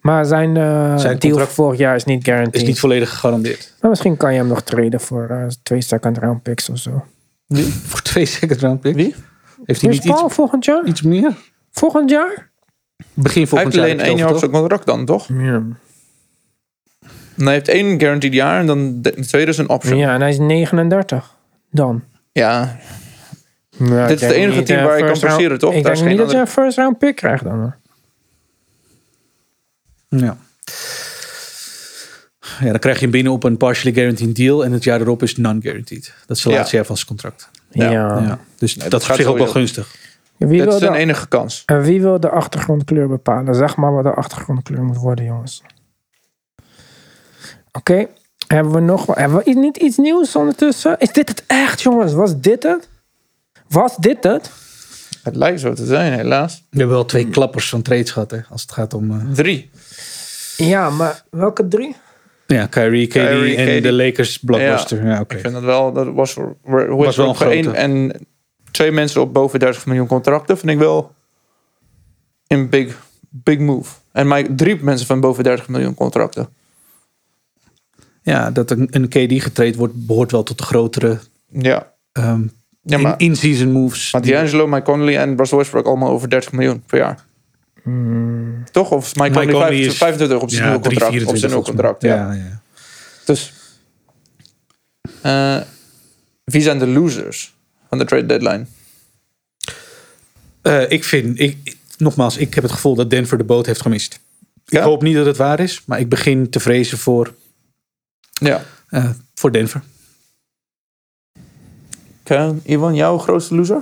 Speaker 2: Maar zijn, eh
Speaker 3: Zijn
Speaker 2: deal
Speaker 3: contract-
Speaker 2: vorig jaar is niet
Speaker 3: Is
Speaker 2: guaranteed.
Speaker 3: niet volledig gegarandeerd.
Speaker 2: Maar misschien kan je hem nog traden voor eh, twee second round picks of zo.
Speaker 3: Voor twee second round picks.
Speaker 1: Wie?
Speaker 3: Heeft hij
Speaker 2: Chris
Speaker 3: niet
Speaker 2: Paul
Speaker 3: iets,
Speaker 2: volgend jaar?
Speaker 3: iets meer?
Speaker 2: Volgend jaar?
Speaker 3: Begin
Speaker 1: Hij
Speaker 3: volgend
Speaker 1: heeft
Speaker 3: jaar.
Speaker 1: alleen
Speaker 3: heb
Speaker 1: één
Speaker 3: je het
Speaker 1: jaar op
Speaker 3: over,
Speaker 1: zijn contract dan, toch?
Speaker 2: Ja.
Speaker 1: Nee, hij heeft één guaranteed jaar en dan de de tweede is een option. Ja.
Speaker 2: Ja, en hij is 39 dan.
Speaker 1: Dit is het enige team waar je kan passeren, toch?
Speaker 2: Ik
Speaker 1: Daar
Speaker 2: denk
Speaker 1: is
Speaker 2: niet
Speaker 1: geen
Speaker 2: dat je
Speaker 1: andere-
Speaker 2: een first round pick krijgt dan. hoor.
Speaker 3: toch? Ja. Ja, dan krijg je hem binnen op een partially guaranteed deal. En het jaar erop is non-guaranteed. Dat is het
Speaker 1: Ja.
Speaker 3: laatste jaar van zijn contract.
Speaker 1: Ja.
Speaker 2: Ja.
Speaker 3: Ja. Dus
Speaker 1: Nee, dat
Speaker 3: dat is op
Speaker 1: gaat
Speaker 3: zich ook wel
Speaker 1: sowieso.
Speaker 3: gunstig.
Speaker 2: Wie,
Speaker 1: Dit
Speaker 2: wil
Speaker 1: is
Speaker 2: de,
Speaker 1: zijn enige kans.
Speaker 2: en wie wil de achtergrondkleur bepalen? Zeg maar wat de achtergrondkleur moet worden, jongens. Oké. Hebben we nog wel- hebben we i- niet iets nieuws ondertussen? Is dit het echt, jongens? Was dit het? Was dit het?
Speaker 1: Het lijkt zo te zijn, helaas.
Speaker 3: We hebben wel twee klappers van trades gehad, hè. Als het gaat om... eh,
Speaker 1: Drie.
Speaker 2: Ja, maar welke drie?
Speaker 3: ja, Kyrie, KD
Speaker 1: Kyrie,
Speaker 3: en
Speaker 1: KD.
Speaker 3: de Lakers blockbuster. Ja, oké.
Speaker 1: Ik vind dat wel, dat was, voor- voor- hoe
Speaker 3: Was wel
Speaker 1: het,
Speaker 3: een
Speaker 1: voor
Speaker 3: grote.
Speaker 1: één en twee mensen op boven 30 miljoen contracten vind ik wel een big, big move. En maar drie mensen van boven 30 miljoen contracten.
Speaker 3: Ja, dat een, een KD getraind wordt, behoort wel tot de grotere
Speaker 1: Ja.
Speaker 3: ehm,
Speaker 1: Ja, maar-
Speaker 3: in- in-season moves.
Speaker 1: Maar
Speaker 3: die-
Speaker 1: D'Angelo, Mike Conley en Russell Westbrook allemaal over 30 miljoen per jaar. Toch? Of is Mike,
Speaker 3: Mm. Mike
Speaker 1: Conley
Speaker 3: Conley
Speaker 1: 25,
Speaker 3: is-
Speaker 1: 25 op zijn nieuwe
Speaker 3: drie,
Speaker 1: contract? Op
Speaker 3: 24
Speaker 1: zijn nieuwe
Speaker 3: volgens mij.
Speaker 1: contract, ja.
Speaker 3: ja, ja.
Speaker 1: Dus, eh, wie zijn de losers van de trade deadline?
Speaker 3: Eh, ik vind, ik, ik- nogmaals, ik heb het gevoel dat Denver de boot heeft gemist.
Speaker 1: Ja?
Speaker 3: Ik hoop niet dat het waar is, maar ik begin te vrezen voor,
Speaker 1: Ja.
Speaker 3: eh, voor Denver.
Speaker 1: Oké, Ivan, jouw grootste loser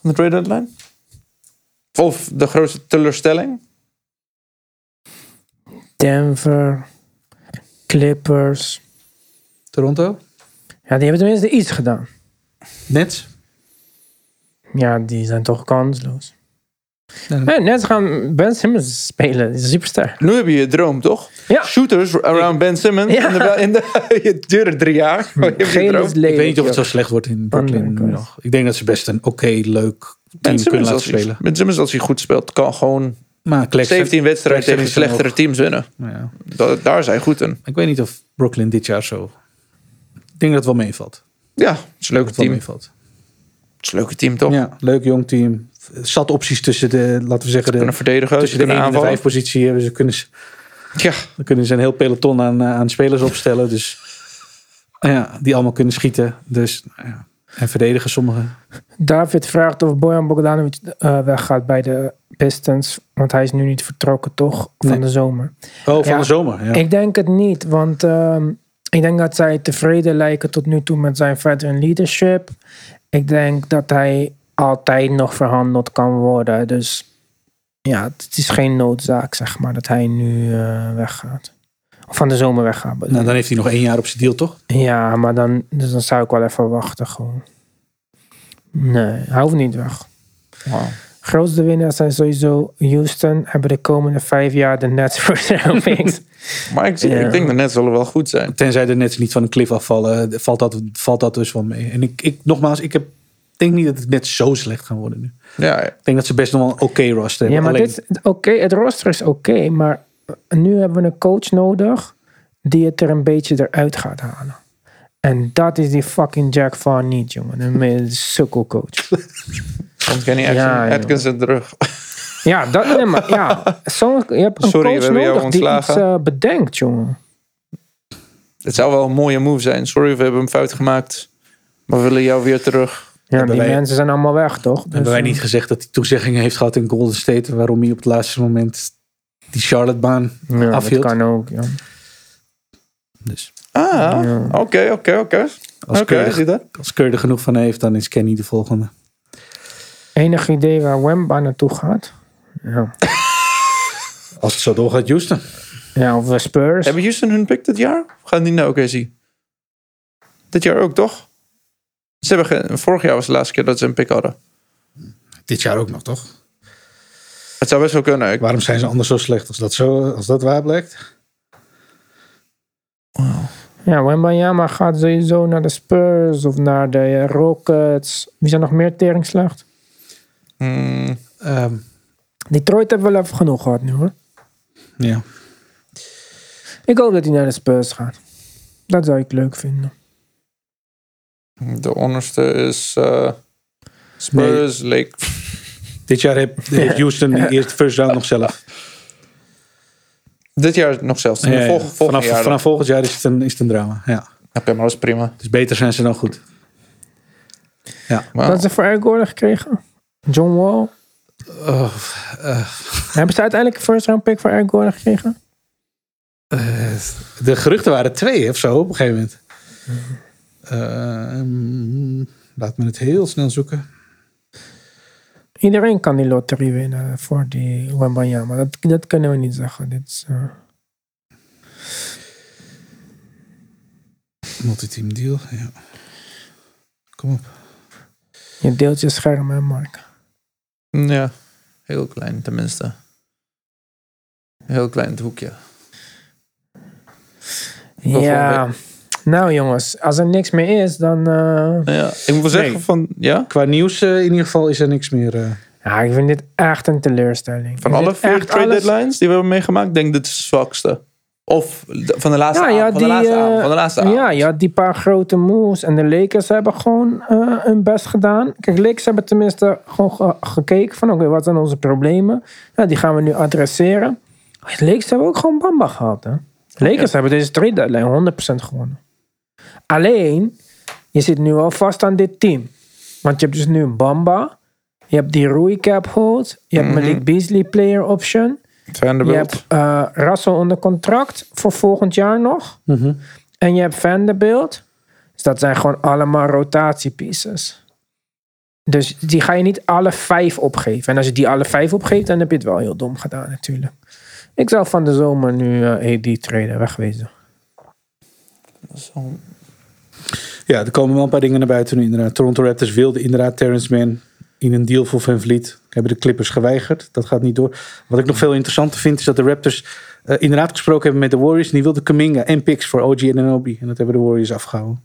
Speaker 1: van de trade deadline? Of de grootste teleurstelling?
Speaker 2: Denver, Clippers.
Speaker 3: Toronto?
Speaker 2: Ja, die hebben tenminste iets gedaan.
Speaker 3: Nets?
Speaker 2: Ja, die zijn toch kansloos. Hey, net gaan Ben Simmons spelen. Die is een superster.
Speaker 1: Nu heb je je droom, toch?
Speaker 2: Ja.
Speaker 1: Shooters around Ben Simmons.
Speaker 2: Ja. dus
Speaker 1: In de, in de, het duurde drie jaar.
Speaker 3: Hmm.
Speaker 1: maar je hebt je
Speaker 2: Geel
Speaker 1: droom.
Speaker 2: is lelijk.
Speaker 3: ik weet niet of het zo
Speaker 2: joh.
Speaker 3: slecht wordt
Speaker 1: Oh,
Speaker 3: in Brooklyn nu
Speaker 2: Underground.
Speaker 3: nog. Ik denk dat ze best een oké, leuk team
Speaker 1: Ben
Speaker 3: kunnen
Speaker 1: Simmons,
Speaker 3: laten
Speaker 1: als hij-
Speaker 3: spelen.
Speaker 1: ben Simmons, als hij goed speelt, kan gewoon
Speaker 3: Maar Claxton-
Speaker 1: 17 wedstrijden
Speaker 3: Claxton
Speaker 1: tegen
Speaker 3: is dan
Speaker 1: slechtere teams winnen.
Speaker 3: ook- Nou ja.
Speaker 1: Da- daar zijn goed in.
Speaker 3: Ik weet niet of Brooklyn dit jaar zo... Ik denk dat het wel meevalt. Dat
Speaker 1: Ja, het is een leuke
Speaker 3: het wel
Speaker 1: team.
Speaker 3: meevalt.
Speaker 1: Het is een leuke team, toch?
Speaker 3: Ja, leuk jong team. Zat opties tussen de, laten we zeggen,
Speaker 1: Ze
Speaker 3: de,
Speaker 1: kunnen verdedigen, ze
Speaker 3: tussen de
Speaker 1: kunnen
Speaker 3: 1 en de
Speaker 1: aanvallen.
Speaker 3: 5 positie hebben. Ze kunnen, ze-
Speaker 1: Ja,
Speaker 3: dan kunnen ze een heel peloton aan, eh, aan spelers opstellen. Dus ja, die allemaal kunnen schieten. Dus nou ja. En verdedigen sommigen.
Speaker 2: David vraagt of Bojan Bogdanovic eh, weggaat bij de Pistons. Want hij is nu niet vertrokken, toch? Van
Speaker 3: Nee.
Speaker 2: de zomer.
Speaker 3: Oh, van
Speaker 2: Ja.
Speaker 3: de zomer. Ja.
Speaker 2: Ik denk het niet, want ehm, ik denk dat zij tevreden lijken tot nu toe met zijn veteran leadership. Ik denk dat hij altijd nog verhandeld kan worden. Dus ja, het is geen noodzaak, zeg maar, dat hij nu eh, weggaat. Of van de zomer weggaat. bedoel
Speaker 3: Nou,
Speaker 2: ik.
Speaker 3: dan heeft hij nog één jaar op zijn deal, toch?
Speaker 2: Ja, maar dan, dus dan zou ik wel even wachten gewoon. Nee, hij hoeft niet weg.
Speaker 1: Wauw.
Speaker 2: Grootste winnaars zijn sowieso Houston. Hebben de komende vijf jaar de Nets voor zijn picks.
Speaker 1: maar ik,
Speaker 2: Ja.
Speaker 1: ik denk dat net zullen wel goed zijn.
Speaker 3: Tenzij de Nets niet van een cliff afvallen, eh, valt dat, valt dat dus wel mee. En ik, ik nogmaals, ik heb, denk niet dat het net zo slecht gaan worden nu.
Speaker 1: Ja,
Speaker 3: Ik denk dat ze best nog wel een oké roster
Speaker 2: Ja,
Speaker 3: hebben.
Speaker 2: maar
Speaker 3: Alleen,
Speaker 2: dit, oké, het roster is oké, maar eh, nu hebben we een coach nodig die het er een beetje eruit gaat halen. En dat is die fucking Jack Van niet, jongen. Een me- sukkelcoach.
Speaker 1: want Kenny Atkin-
Speaker 2: Ja, joh.
Speaker 1: Atkins is terug.
Speaker 2: Ja, dat nee, maar ja. Zo, je hebt een
Speaker 1: Sorry, we
Speaker 2: coach
Speaker 1: hebben jou
Speaker 2: nodig die iets
Speaker 1: ontslagen.
Speaker 2: eh, bedenkt, jongen.
Speaker 1: Het zou wel een mooie move zijn. Sorry, we hebben hem fout gemaakt. Maar we willen jou weer terug.
Speaker 2: Ja,
Speaker 3: Hebben
Speaker 2: die
Speaker 3: wij-
Speaker 2: mensen zijn allemaal weg, toch? Dus,
Speaker 3: hebben wij
Speaker 2: eh,
Speaker 3: niet gezegd dat hij toezeggingen heeft gehad in Golden State, waarom hij op het laatste moment die Charlotte-baan
Speaker 2: ja,
Speaker 3: afhield?
Speaker 2: Dat kan ook, ja.
Speaker 3: Dus
Speaker 1: Ah,
Speaker 2: Ja.
Speaker 1: oké, oké, oké.
Speaker 3: als,
Speaker 1: Oké,
Speaker 3: Keur
Speaker 1: zie
Speaker 3: er,
Speaker 1: je dat?
Speaker 3: als Keur er genoeg van heeft, dan is Kenny de volgende.
Speaker 2: Enig idee waar Wemba naartoe gaat? Ja.
Speaker 3: Als het zo doorgaat, Houston.
Speaker 2: ja, of Spurs.
Speaker 1: Hebben Houston hun pick dit jaar? Of gaan die naar OKC? Dit jaar ook, toch? Ze hebben ge- Vorig jaar was de laatste keer dat ze een pick hadden.
Speaker 4: Dit jaar ook nog, toch?
Speaker 1: Het zou best wel kunnen. Ik-
Speaker 4: Waarom zijn ze anders zo slecht als dat, zo, als dat waar blijkt?
Speaker 2: Ja, Wembanyama gaat sowieso naar de Spurs of naar de eh, Rockets. Wie zijn nog meer tering slecht?
Speaker 1: Mm,
Speaker 3: Ehm,
Speaker 2: Detroit hebben wel even genoeg gehad nu hoor.
Speaker 3: ja.
Speaker 2: Ik hoop dat hij naar de Spurs gaat. Dat zou ik leuk vinden.
Speaker 1: de onderste is eh, Spurs, Lake.
Speaker 3: Dit jaar heeft, heeft Houston de eerste first round nog zelf.
Speaker 1: Dit jaar nog zelfs.
Speaker 3: Ja, ja.
Speaker 1: Volg- volgend
Speaker 3: vanaf,
Speaker 1: jaar.
Speaker 3: vanaf volgend jaar is het een, is het een drama. Ja.
Speaker 1: Oké, maar dat is prima.
Speaker 3: Dus beter zijn ze dan goed.
Speaker 1: Wauw. Ah.
Speaker 2: Dat ze voor Eric Gordon gekregen. John Wall.
Speaker 3: Oh,
Speaker 2: hebben ze uiteindelijk een first round pick voor Eric Gordon gekregen?
Speaker 3: eh, De geruchten waren twee of zo op een gegeven moment. Ehm, laat me het heel snel zoeken.
Speaker 2: Iedereen kan die loterie winnen voor die Wembanyama. Dat, dat kunnen we niet zeggen. Dit is, eh,
Speaker 3: Multiteam deal. Ja. Kom op.
Speaker 2: je deelt je scherm, hè Mark?
Speaker 1: Ja, heel klein tenminste. Heel klein het hoekje. wel
Speaker 2: Ja. Nou jongens, als er niks meer is, dan... eh,
Speaker 1: Ja, ik moet wel zeggen
Speaker 3: Nee.
Speaker 1: van, ja,
Speaker 3: Qua nieuws eh, in ieder geval is er niks meer. eh.
Speaker 2: Ja, ik vind dit echt een teleurstelling.
Speaker 1: van
Speaker 2: Ik vind
Speaker 1: alle
Speaker 2: dit
Speaker 1: vier
Speaker 2: echt
Speaker 1: trade
Speaker 2: alles-
Speaker 1: deadlines die we hebben meegemaakt, denk ik dit is het zwakste. Of de- van de laatste
Speaker 2: Ja, ja,
Speaker 1: avond, van de
Speaker 2: die,
Speaker 1: laatste
Speaker 2: eh,
Speaker 1: avond, van de laatste avond.
Speaker 2: Ja, je had die paar grote moves. En de Lakers hebben gewoon eh, hun best gedaan. Kijk, Lakers hebben tenminste gewoon ge- gekeken van... Oké, wat zijn onze problemen? Nou, die gaan we nu adresseren. Maar de Lakers hebben ook gewoon Bamba gehad, hè? De Lakers hebben deze trade deadline 100% gewonnen. Alleen, je zit nu al vast aan dit team. Want je hebt dus nu een Bamba. Je hebt die Rui Cap Hold. Je
Speaker 1: Mhm.
Speaker 2: hebt Malik Beasley player option. Je
Speaker 1: Vanderbilt.
Speaker 2: hebt eh Russell onder contract voor volgend jaar nog. En je hebt Vanderbilt. Dus dat zijn gewoon allemaal rotatiepieces. Dus die ga je niet alle vijf opgeven. En als je die alle vijf opgeeft, dan heb je het wel heel dom gedaan natuurlijk. Ik zou van de zomer nu eh AD traden, wegwezen.
Speaker 1: Zo-
Speaker 3: Ja, er komen wel een paar dingen naar buiten nu inderdaad. Toronto Raptors wilde inderdaad Terrence Mann. in een deal voor Van Vliet hebben de Clippers geweigerd. Dat gaat niet door. Wat ik nog veel interessanter vind is dat de Raptors eh, inderdaad gesproken hebben met de Warriors. En die wilden Kaminga en picks voor OG en Anobi. En dat hebben de Warriors afgehouden.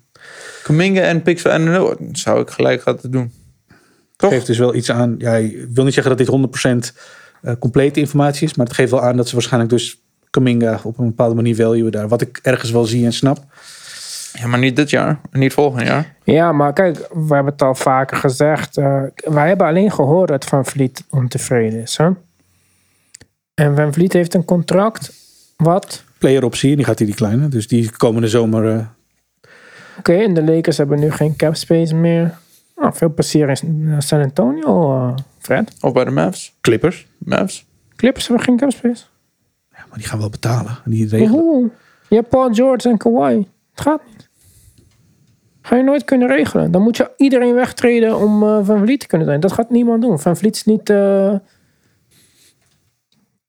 Speaker 1: Kuminga en Pixel en oh, dat zou ik gelijk laten doen. Toch?
Speaker 3: geeft dus wel iets aan. Ja, ik wil niet zeggen dat dit 100% eh, complete informatie is, maar het geeft wel aan dat ze waarschijnlijk dus Kaminga op een bepaalde manier value daar. Wat ik ergens wel zie en snap.
Speaker 1: Ja, maar niet dit jaar. Niet volgend jaar.
Speaker 2: Ja, maar kijk, we hebben het al vaker gezegd. eh, wij hebben alleen gehoord dat Van Vliet ontevreden is. Hè? En Van Vliet heeft een contract. Wat?
Speaker 3: Player optie, en die gaat hij die kleine. Dus die komende zomer. eh,
Speaker 2: Oké, en de Lakers hebben nu geen cap space meer. Nou, veel plezier in San Antonio, eh, Fred.
Speaker 1: Of bij de Mavs.
Speaker 3: Clippers.
Speaker 1: Mavs.
Speaker 2: Clippers hebben geen cap space.
Speaker 3: Ja, maar die gaan wel betalen. En die regelen.
Speaker 2: Oeh, je hebt Paul George en Kawhi. Het gaat niet. Ga je nooit kunnen regelen. Dan moet je iedereen wegtreden om eh, Van Vliet te kunnen zijn. Dat gaat niemand doen. Van Vliet is niet eh,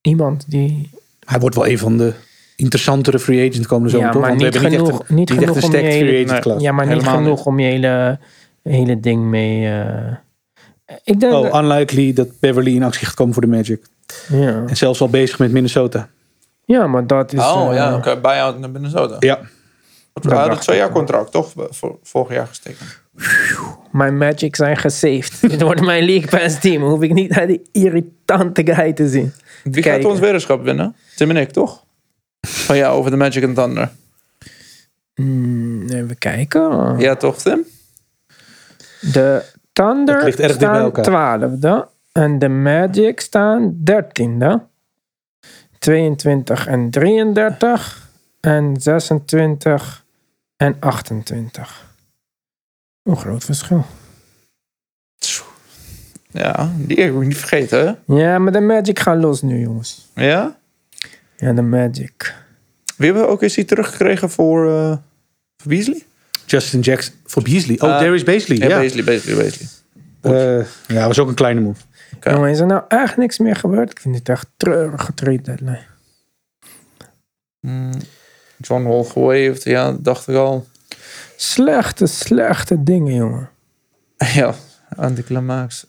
Speaker 2: iemand die...
Speaker 3: Hij wordt wel een van de interessantere free agent komende zomer.
Speaker 2: Ja,
Speaker 3: toch?
Speaker 2: maar
Speaker 3: Want we
Speaker 2: niet
Speaker 3: hebben niet
Speaker 2: genoeg-
Speaker 3: echt een,
Speaker 2: niet genoeg
Speaker 3: echt
Speaker 2: om
Speaker 3: een stacked
Speaker 2: je
Speaker 3: free
Speaker 2: hele-
Speaker 3: agent
Speaker 1: nee.
Speaker 3: class.
Speaker 2: ja, maar niet
Speaker 1: helemaal
Speaker 2: genoeg om je hele, hele ding mee... eh, ik denk dat-
Speaker 3: Oh, unlikely dat Beverly in actie gaat komen voor de Magic.
Speaker 2: ja.
Speaker 3: En zelfs al bezig met Minnesota.
Speaker 2: ja, maar dat is...
Speaker 1: oh
Speaker 2: eh,
Speaker 1: ja, oké. Buyout naar Minnesota.
Speaker 3: Dus, Ja,
Speaker 1: We hadden
Speaker 2: dacht
Speaker 1: twee jaar contract, toch? Voor, vorig jaar getekend.
Speaker 2: Mijn Magic zijn gesaved. Dit wordt mijn League Pass team. Hoef ik niet naar die irritante guy te zien.
Speaker 1: Wie
Speaker 2: Kijken.
Speaker 1: gaat ons weddenschap winnen? Tim en ik, toch? Van jou over de Magic and Thunder.
Speaker 2: Hmm, even kijken.
Speaker 1: Ja, toch, Tim?
Speaker 2: De
Speaker 3: Dat
Speaker 2: Thunder
Speaker 3: ligt erg dicht bij
Speaker 2: staan
Speaker 3: elkaar.
Speaker 2: twaalfde. En de Magic staan dertiende. 22 en 33. En 26 en 28. Een groot verschil.
Speaker 1: Ja, die heb ik niet vergeten,
Speaker 2: Ja, maar de Magic gaan los nu, jongens.
Speaker 1: hè? Ja?
Speaker 2: Ja, de Magic.
Speaker 1: Wie hebben we ook eens die teruggekregen voor, eh, voor Beasley?
Speaker 3: Justin Jackson voor Beasley. Oh,
Speaker 1: Eh,
Speaker 3: Darius Beasley.
Speaker 1: Ja,
Speaker 3: Ja,
Speaker 1: Beasley, Beasley, Beasley.
Speaker 3: Eh, ja, was ook een kleine move.
Speaker 1: Ja.
Speaker 2: Jongen, is er nou echt niks meer gebeurd? Ik vind dit echt treurige trade deadline.
Speaker 1: Mm, John Wall gewaved, ja, dacht ik al.
Speaker 2: Slechte, slechte dingen, jongen.
Speaker 1: Ja, anticlimax.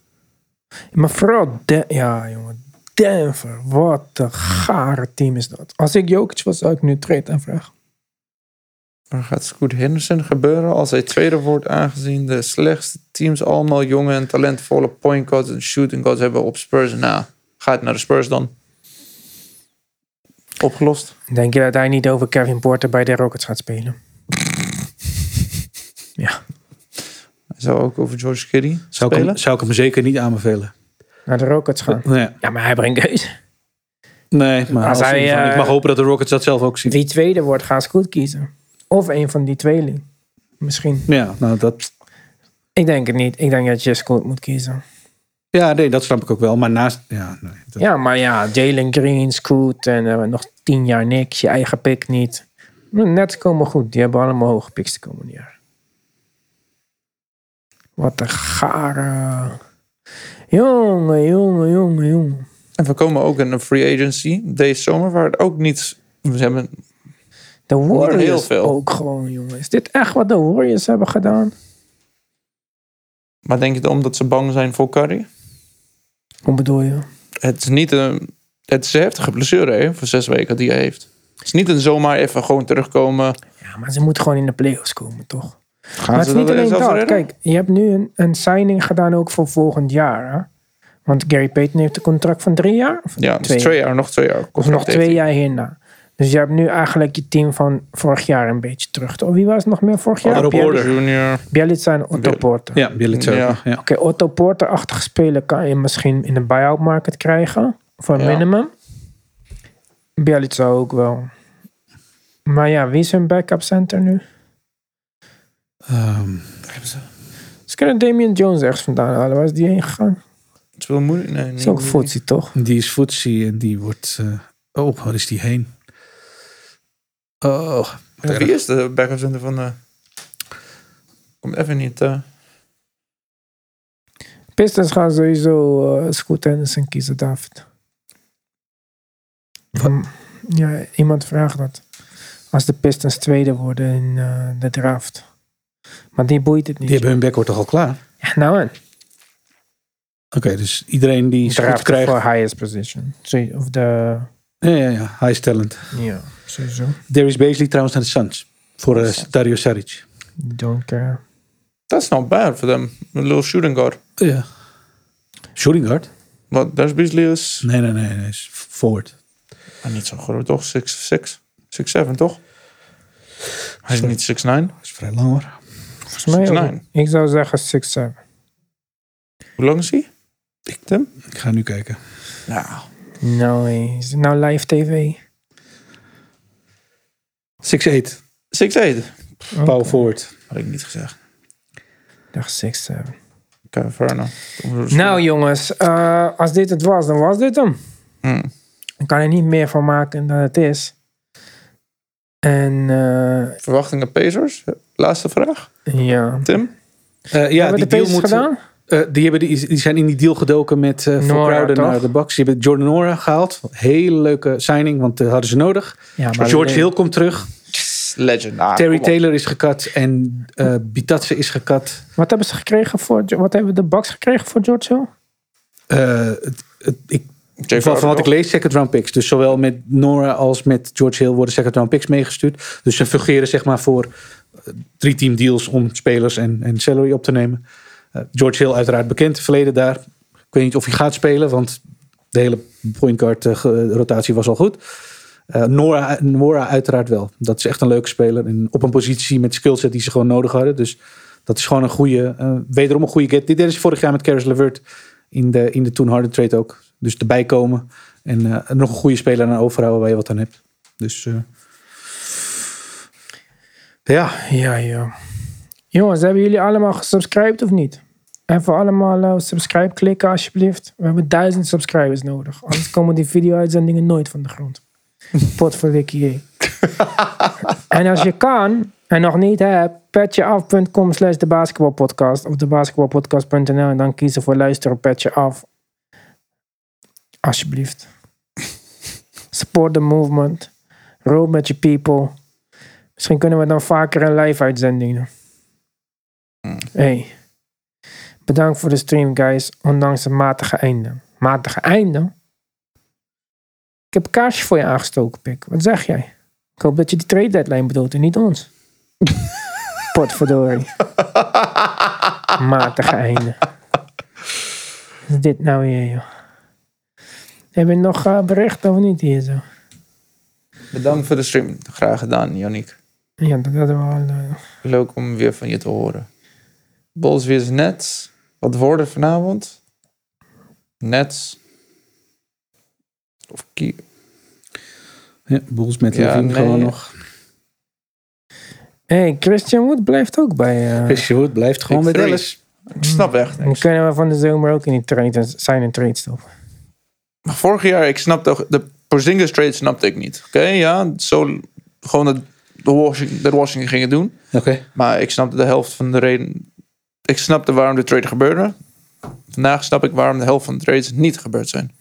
Speaker 2: Maar vooral, Den- ja jongen, Denver, wat een gare team is dat. Als ik Jokic was, zou ik nu trade aanvragen.
Speaker 1: Maar gaat Scoot Henderson gebeuren als hij tweede wordt aangezien de slechtste teams allemaal jonge en talentvolle point guards en shooting guards hebben op Spurs? Nou, gaat naar de Spurs dan. Opgelost.
Speaker 2: Denk je dat hij niet over Kevin Porter bij de Rockets gaat spelen? ja,
Speaker 1: Hij zou ook over George Kitty
Speaker 3: Zou ik,
Speaker 1: spelen.
Speaker 3: hem, zou ik hem zeker niet aanbevelen.
Speaker 2: naar de Rockets gaan.
Speaker 3: Nee,
Speaker 2: Ja, maar hij brengt keuze.
Speaker 3: nee maar
Speaker 2: Als
Speaker 3: als
Speaker 2: hij,
Speaker 3: iemand-
Speaker 2: eh,
Speaker 3: ik mag hopen dat de Rockets dat zelf ook zien.
Speaker 2: Wie tweede wordt, gaan ze goed kiezen. Of een van die tweeling. Misschien.
Speaker 3: Ja, nou dat,
Speaker 2: Ik denk het niet. Ik denk dat je Scoot moet kiezen.
Speaker 3: ja, nee, dat snap ik ook wel. Maar naast... Ja, nee, dat-
Speaker 2: Ja, maar ja, Jalen Green, Scoot en eh, nog tien jaar niks. Je eigen pick niet. Net komen goed. Die hebben allemaal hoge picks de komende jaar. Wat een gare... Jongen, jongen, jongen, jongen.
Speaker 1: En we komen ook in een free agency deze zomer waar het ook niets... We hebben
Speaker 2: De Warriors
Speaker 1: heel veel.
Speaker 2: ook gewoon, jongen. Is dit echt wat de Warriors hebben gedaan?
Speaker 1: Maar denk je dan omdat ze bang zijn voor Curry?
Speaker 2: Hoe bedoel je?
Speaker 1: Het is niet een... Het is een heftige blessure hè, voor zes weken die hij heeft. Het is niet een zomaar even gewoon terugkomen.
Speaker 2: Ja, maar ze moeten gewoon in de playoffs komen, toch?
Speaker 1: Gaan
Speaker 2: maar het
Speaker 1: ze
Speaker 2: is niet
Speaker 1: dat
Speaker 2: alleen
Speaker 1: zelfs
Speaker 2: dat.
Speaker 1: redden?
Speaker 2: Kijk, je hebt nu een, een signing gedaan ook voor volgend jaar. Hè? Want Gary Payton heeft een contract van drie jaar. Of
Speaker 1: Ja, dus twee, jaar, nog twee jaar.
Speaker 2: Of
Speaker 1: contract
Speaker 2: nog
Speaker 1: heeft hij.
Speaker 2: twee jaar hierna. Dus je hebt nu eigenlijk je team van vorig jaar een beetje terug. Toch? Wie was het nog meer vorig jaar?
Speaker 1: Otto
Speaker 3: Rob
Speaker 1: Porter
Speaker 3: Porter.
Speaker 1: Junior.
Speaker 2: Bielitsa en Otto
Speaker 1: Biel-
Speaker 2: Porter.
Speaker 3: ja wil ik zo.
Speaker 1: Ja.
Speaker 3: Ja.
Speaker 2: Oké, Otto Porter-achtige spelen kan je misschien in de buy-out market krijgen. Voor een
Speaker 1: Ja.
Speaker 2: minimum. Bielitsa ook wel. Maar ja, wie is hun backup center nu?
Speaker 3: Ehm,
Speaker 2: Ze kunnen Damian Jones ergens vandaan halen. Waar is die heen gegaan?
Speaker 1: Het is wel moeilijk. Nee,
Speaker 2: Dat
Speaker 1: niet-
Speaker 2: is ook footsie, toch?
Speaker 3: die is footsie en die wordt... eh, oh, waar is die heen? Oh,
Speaker 1: Ja, Wie is de backup center van de... Komt even niet... eh,
Speaker 2: Pistons gaan sowieso eh Scoot Henderson kiezen, David. Hmm, ja, iemand vraagt dat. Als de Pistons tweede worden in eh, de draft. Maar die boeit het niet.
Speaker 3: die hebben hun backcourt toch al klaar?
Speaker 2: Ja, nou en?
Speaker 3: dus iedereen die schiet
Speaker 2: draft
Speaker 3: krijgt.
Speaker 2: voor highest position. Sorry, Of de...
Speaker 3: Ja, ja, ja. Hij is talent.
Speaker 2: Ja, sowieso.
Speaker 3: Darius Beasley trouwens naar de Suns. Voor eh, Dario Saric.
Speaker 2: Don't care.
Speaker 1: That's not nou bad for them. A little shooting guard.
Speaker 3: Ja. Shooting guard?
Speaker 1: Wat, Darius Beasley is
Speaker 3: Nee, nee, nee. Hij is forward.
Speaker 1: ah, niet zo groot, toch? 6'6", 6'7", toch? Hij is niet 6'9".
Speaker 3: Dat is vrij lang hoor.
Speaker 2: Volgens mij ook.
Speaker 1: 6'9".
Speaker 2: Ik zou zeggen 6-7.
Speaker 1: Hoe lang is hij? Ik hem?
Speaker 3: Ik ga nu kijken.
Speaker 1: Nou,
Speaker 2: Nou, hé, is het nou live tv?
Speaker 3: 6'8.
Speaker 1: 6'8".
Speaker 3: Power forward.
Speaker 1: Had ik niet gezegd.
Speaker 2: Ik dacht 6-7.
Speaker 1: Kevin Verna.
Speaker 2: Nou jongens, eh, als dit het was, dan was dit hem.
Speaker 1: Mm.
Speaker 2: Ik kan er niet meer van maken dan het is. En eh,
Speaker 1: Verwachtingen Pacers? Laatste vraag.
Speaker 2: ja.
Speaker 1: Tim?
Speaker 3: Eh, ja,
Speaker 2: Hebben
Speaker 3: die
Speaker 2: we de
Speaker 3: deal
Speaker 2: Pacers
Speaker 3: moet...
Speaker 2: gedaan?
Speaker 3: Eh, die, hebben, die, die zijn in die deal gedoken met eh Four
Speaker 2: Nora,
Speaker 3: Crowder
Speaker 2: toch?
Speaker 3: naar de Bucks. Die hebben Jordan Nora gehaald. Hele leuke signing, want dat hadden ze nodig.
Speaker 2: Ja,
Speaker 3: George Hill komt terug.
Speaker 1: Legend. Ah,
Speaker 3: Terry
Speaker 1: kom op.
Speaker 3: Taylor is gekat. En eh Bitatse is gekat.
Speaker 2: Wat hebben ze gekregen voor... Wat hebben de Bucks gekregen voor George Hill?
Speaker 3: Eh, het, het, ik,
Speaker 1: Jay
Speaker 3: van, van wat ik
Speaker 1: Crowder
Speaker 3: lees, second round picks. Dus zowel met Nora als met George Hill worden second round picks meegestuurd. Dus ze fungeren zeg maar voor eh, drie team deals om spelers en, en salary op te nemen. Eh, George Hill uiteraard bekend, verleden daar. Ik weet niet of hij gaat spelen, want de hele point guard eh, ge- rotatie was al goed. Eh, Nora, Nora uiteraard wel. Dat is echt een leuke speler. En op een positie met skillset die ze gewoon nodig hadden. Dus dat is gewoon een goede, eh, wederom een goede get. Dit deden ze vorig jaar met Karis LeVert in de, in de toen harde trade ook. Dus erbij komen en eh, nog een goede speler aan overhouden waar je wat aan hebt. Dus eh, ja,
Speaker 2: Ja, ja. Jongens, hebben jullie allemaal gesubscribed of niet? Even allemaal eh, subscribe klikken alsjeblieft. We hebben duizend subscribers nodig. Anders komen die video-uitzendingen nooit van de grond. Potverdikkie. hé. en als je kan en nog niet hebt, petjeaf.com slash de basketbalpodcast of de basketbalpodcast.nl en dan kiezen voor luisteren petje af. Alsjeblieft. Support the movement. Roll met je people. Misschien kunnen we dan vaker een live uitzending doen. Hey. Bedankt voor de stream, guys. Ondanks het matige einde. Matige einde? Ik heb een kaarsje voor je aangestoken, Pik. Wat zeg jij? Ik hoop dat je die trade deadline bedoelt en niet ons. Potverdorie. Matige einde. Wat is dit nou weer, joh? Heb je nog eh, berichten of niet hier zo?
Speaker 1: Bedankt voor de stream. Graag gedaan, Yannick.
Speaker 2: Ja, dat hadden we al. eh,
Speaker 1: Leuk om weer van je te horen. Bols weer net. Wat worden vanavond? Nets. Of Ki.
Speaker 3: ja Bulls met
Speaker 1: Ja,
Speaker 3: Levine
Speaker 1: nee.
Speaker 3: gewoon nog.
Speaker 2: hey, Christian Wood blijft ook bij. eh
Speaker 3: Christian Wood blijft gewoon bij
Speaker 1: Ik three.
Speaker 3: Dallas.
Speaker 1: Ik snap echt
Speaker 2: Dan
Speaker 3: Hmm.
Speaker 1: niks.
Speaker 2: kunnen we van de zomer ook in die trade, zijn en trade stoppen.
Speaker 1: Maar vorig jaar, ik snap toch... De Porzingis trade snapte ik niet. Oké, ja. Zo gewoon dat de Washington, dat Washington gingen doen.
Speaker 3: Oké.
Speaker 1: Maar ik snapte de helft van de reden... Ik snapte waarom de trade gebeurde. Vandaag snap ik waarom de helft van de trades niet gebeurd zijn.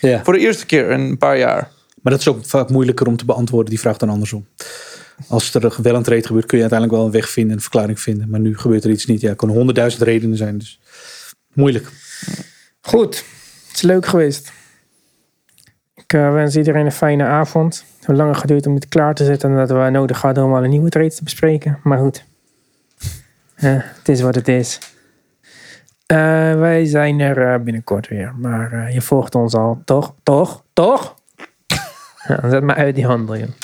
Speaker 3: Ja.
Speaker 1: Voor de eerste keer in een paar jaar.
Speaker 3: Maar dat is ook vaak moeilijker om te beantwoorden, die vraag dan andersom. Als er wel een trade gebeurt, kun je uiteindelijk wel een weg vinden, een verklaring vinden. Maar nu gebeurt er iets niet. Ja, er kunnen honderdduizend redenen zijn. Dus moeilijk.
Speaker 2: Goed, het is leuk geweest. Ik eh, wens iedereen een fijne avond. Het heeft langer geduurd om dit klaar te zetten dan dat we nodig hadden om alle nieuwe trades te bespreken. Maar goed, Eh, het is wat het is. Eh, wij zijn er eh, binnenkort weer. Maar eh, je volgt ons al, toch? Toch? Toch? Ja, zet maar uit die handel, joh.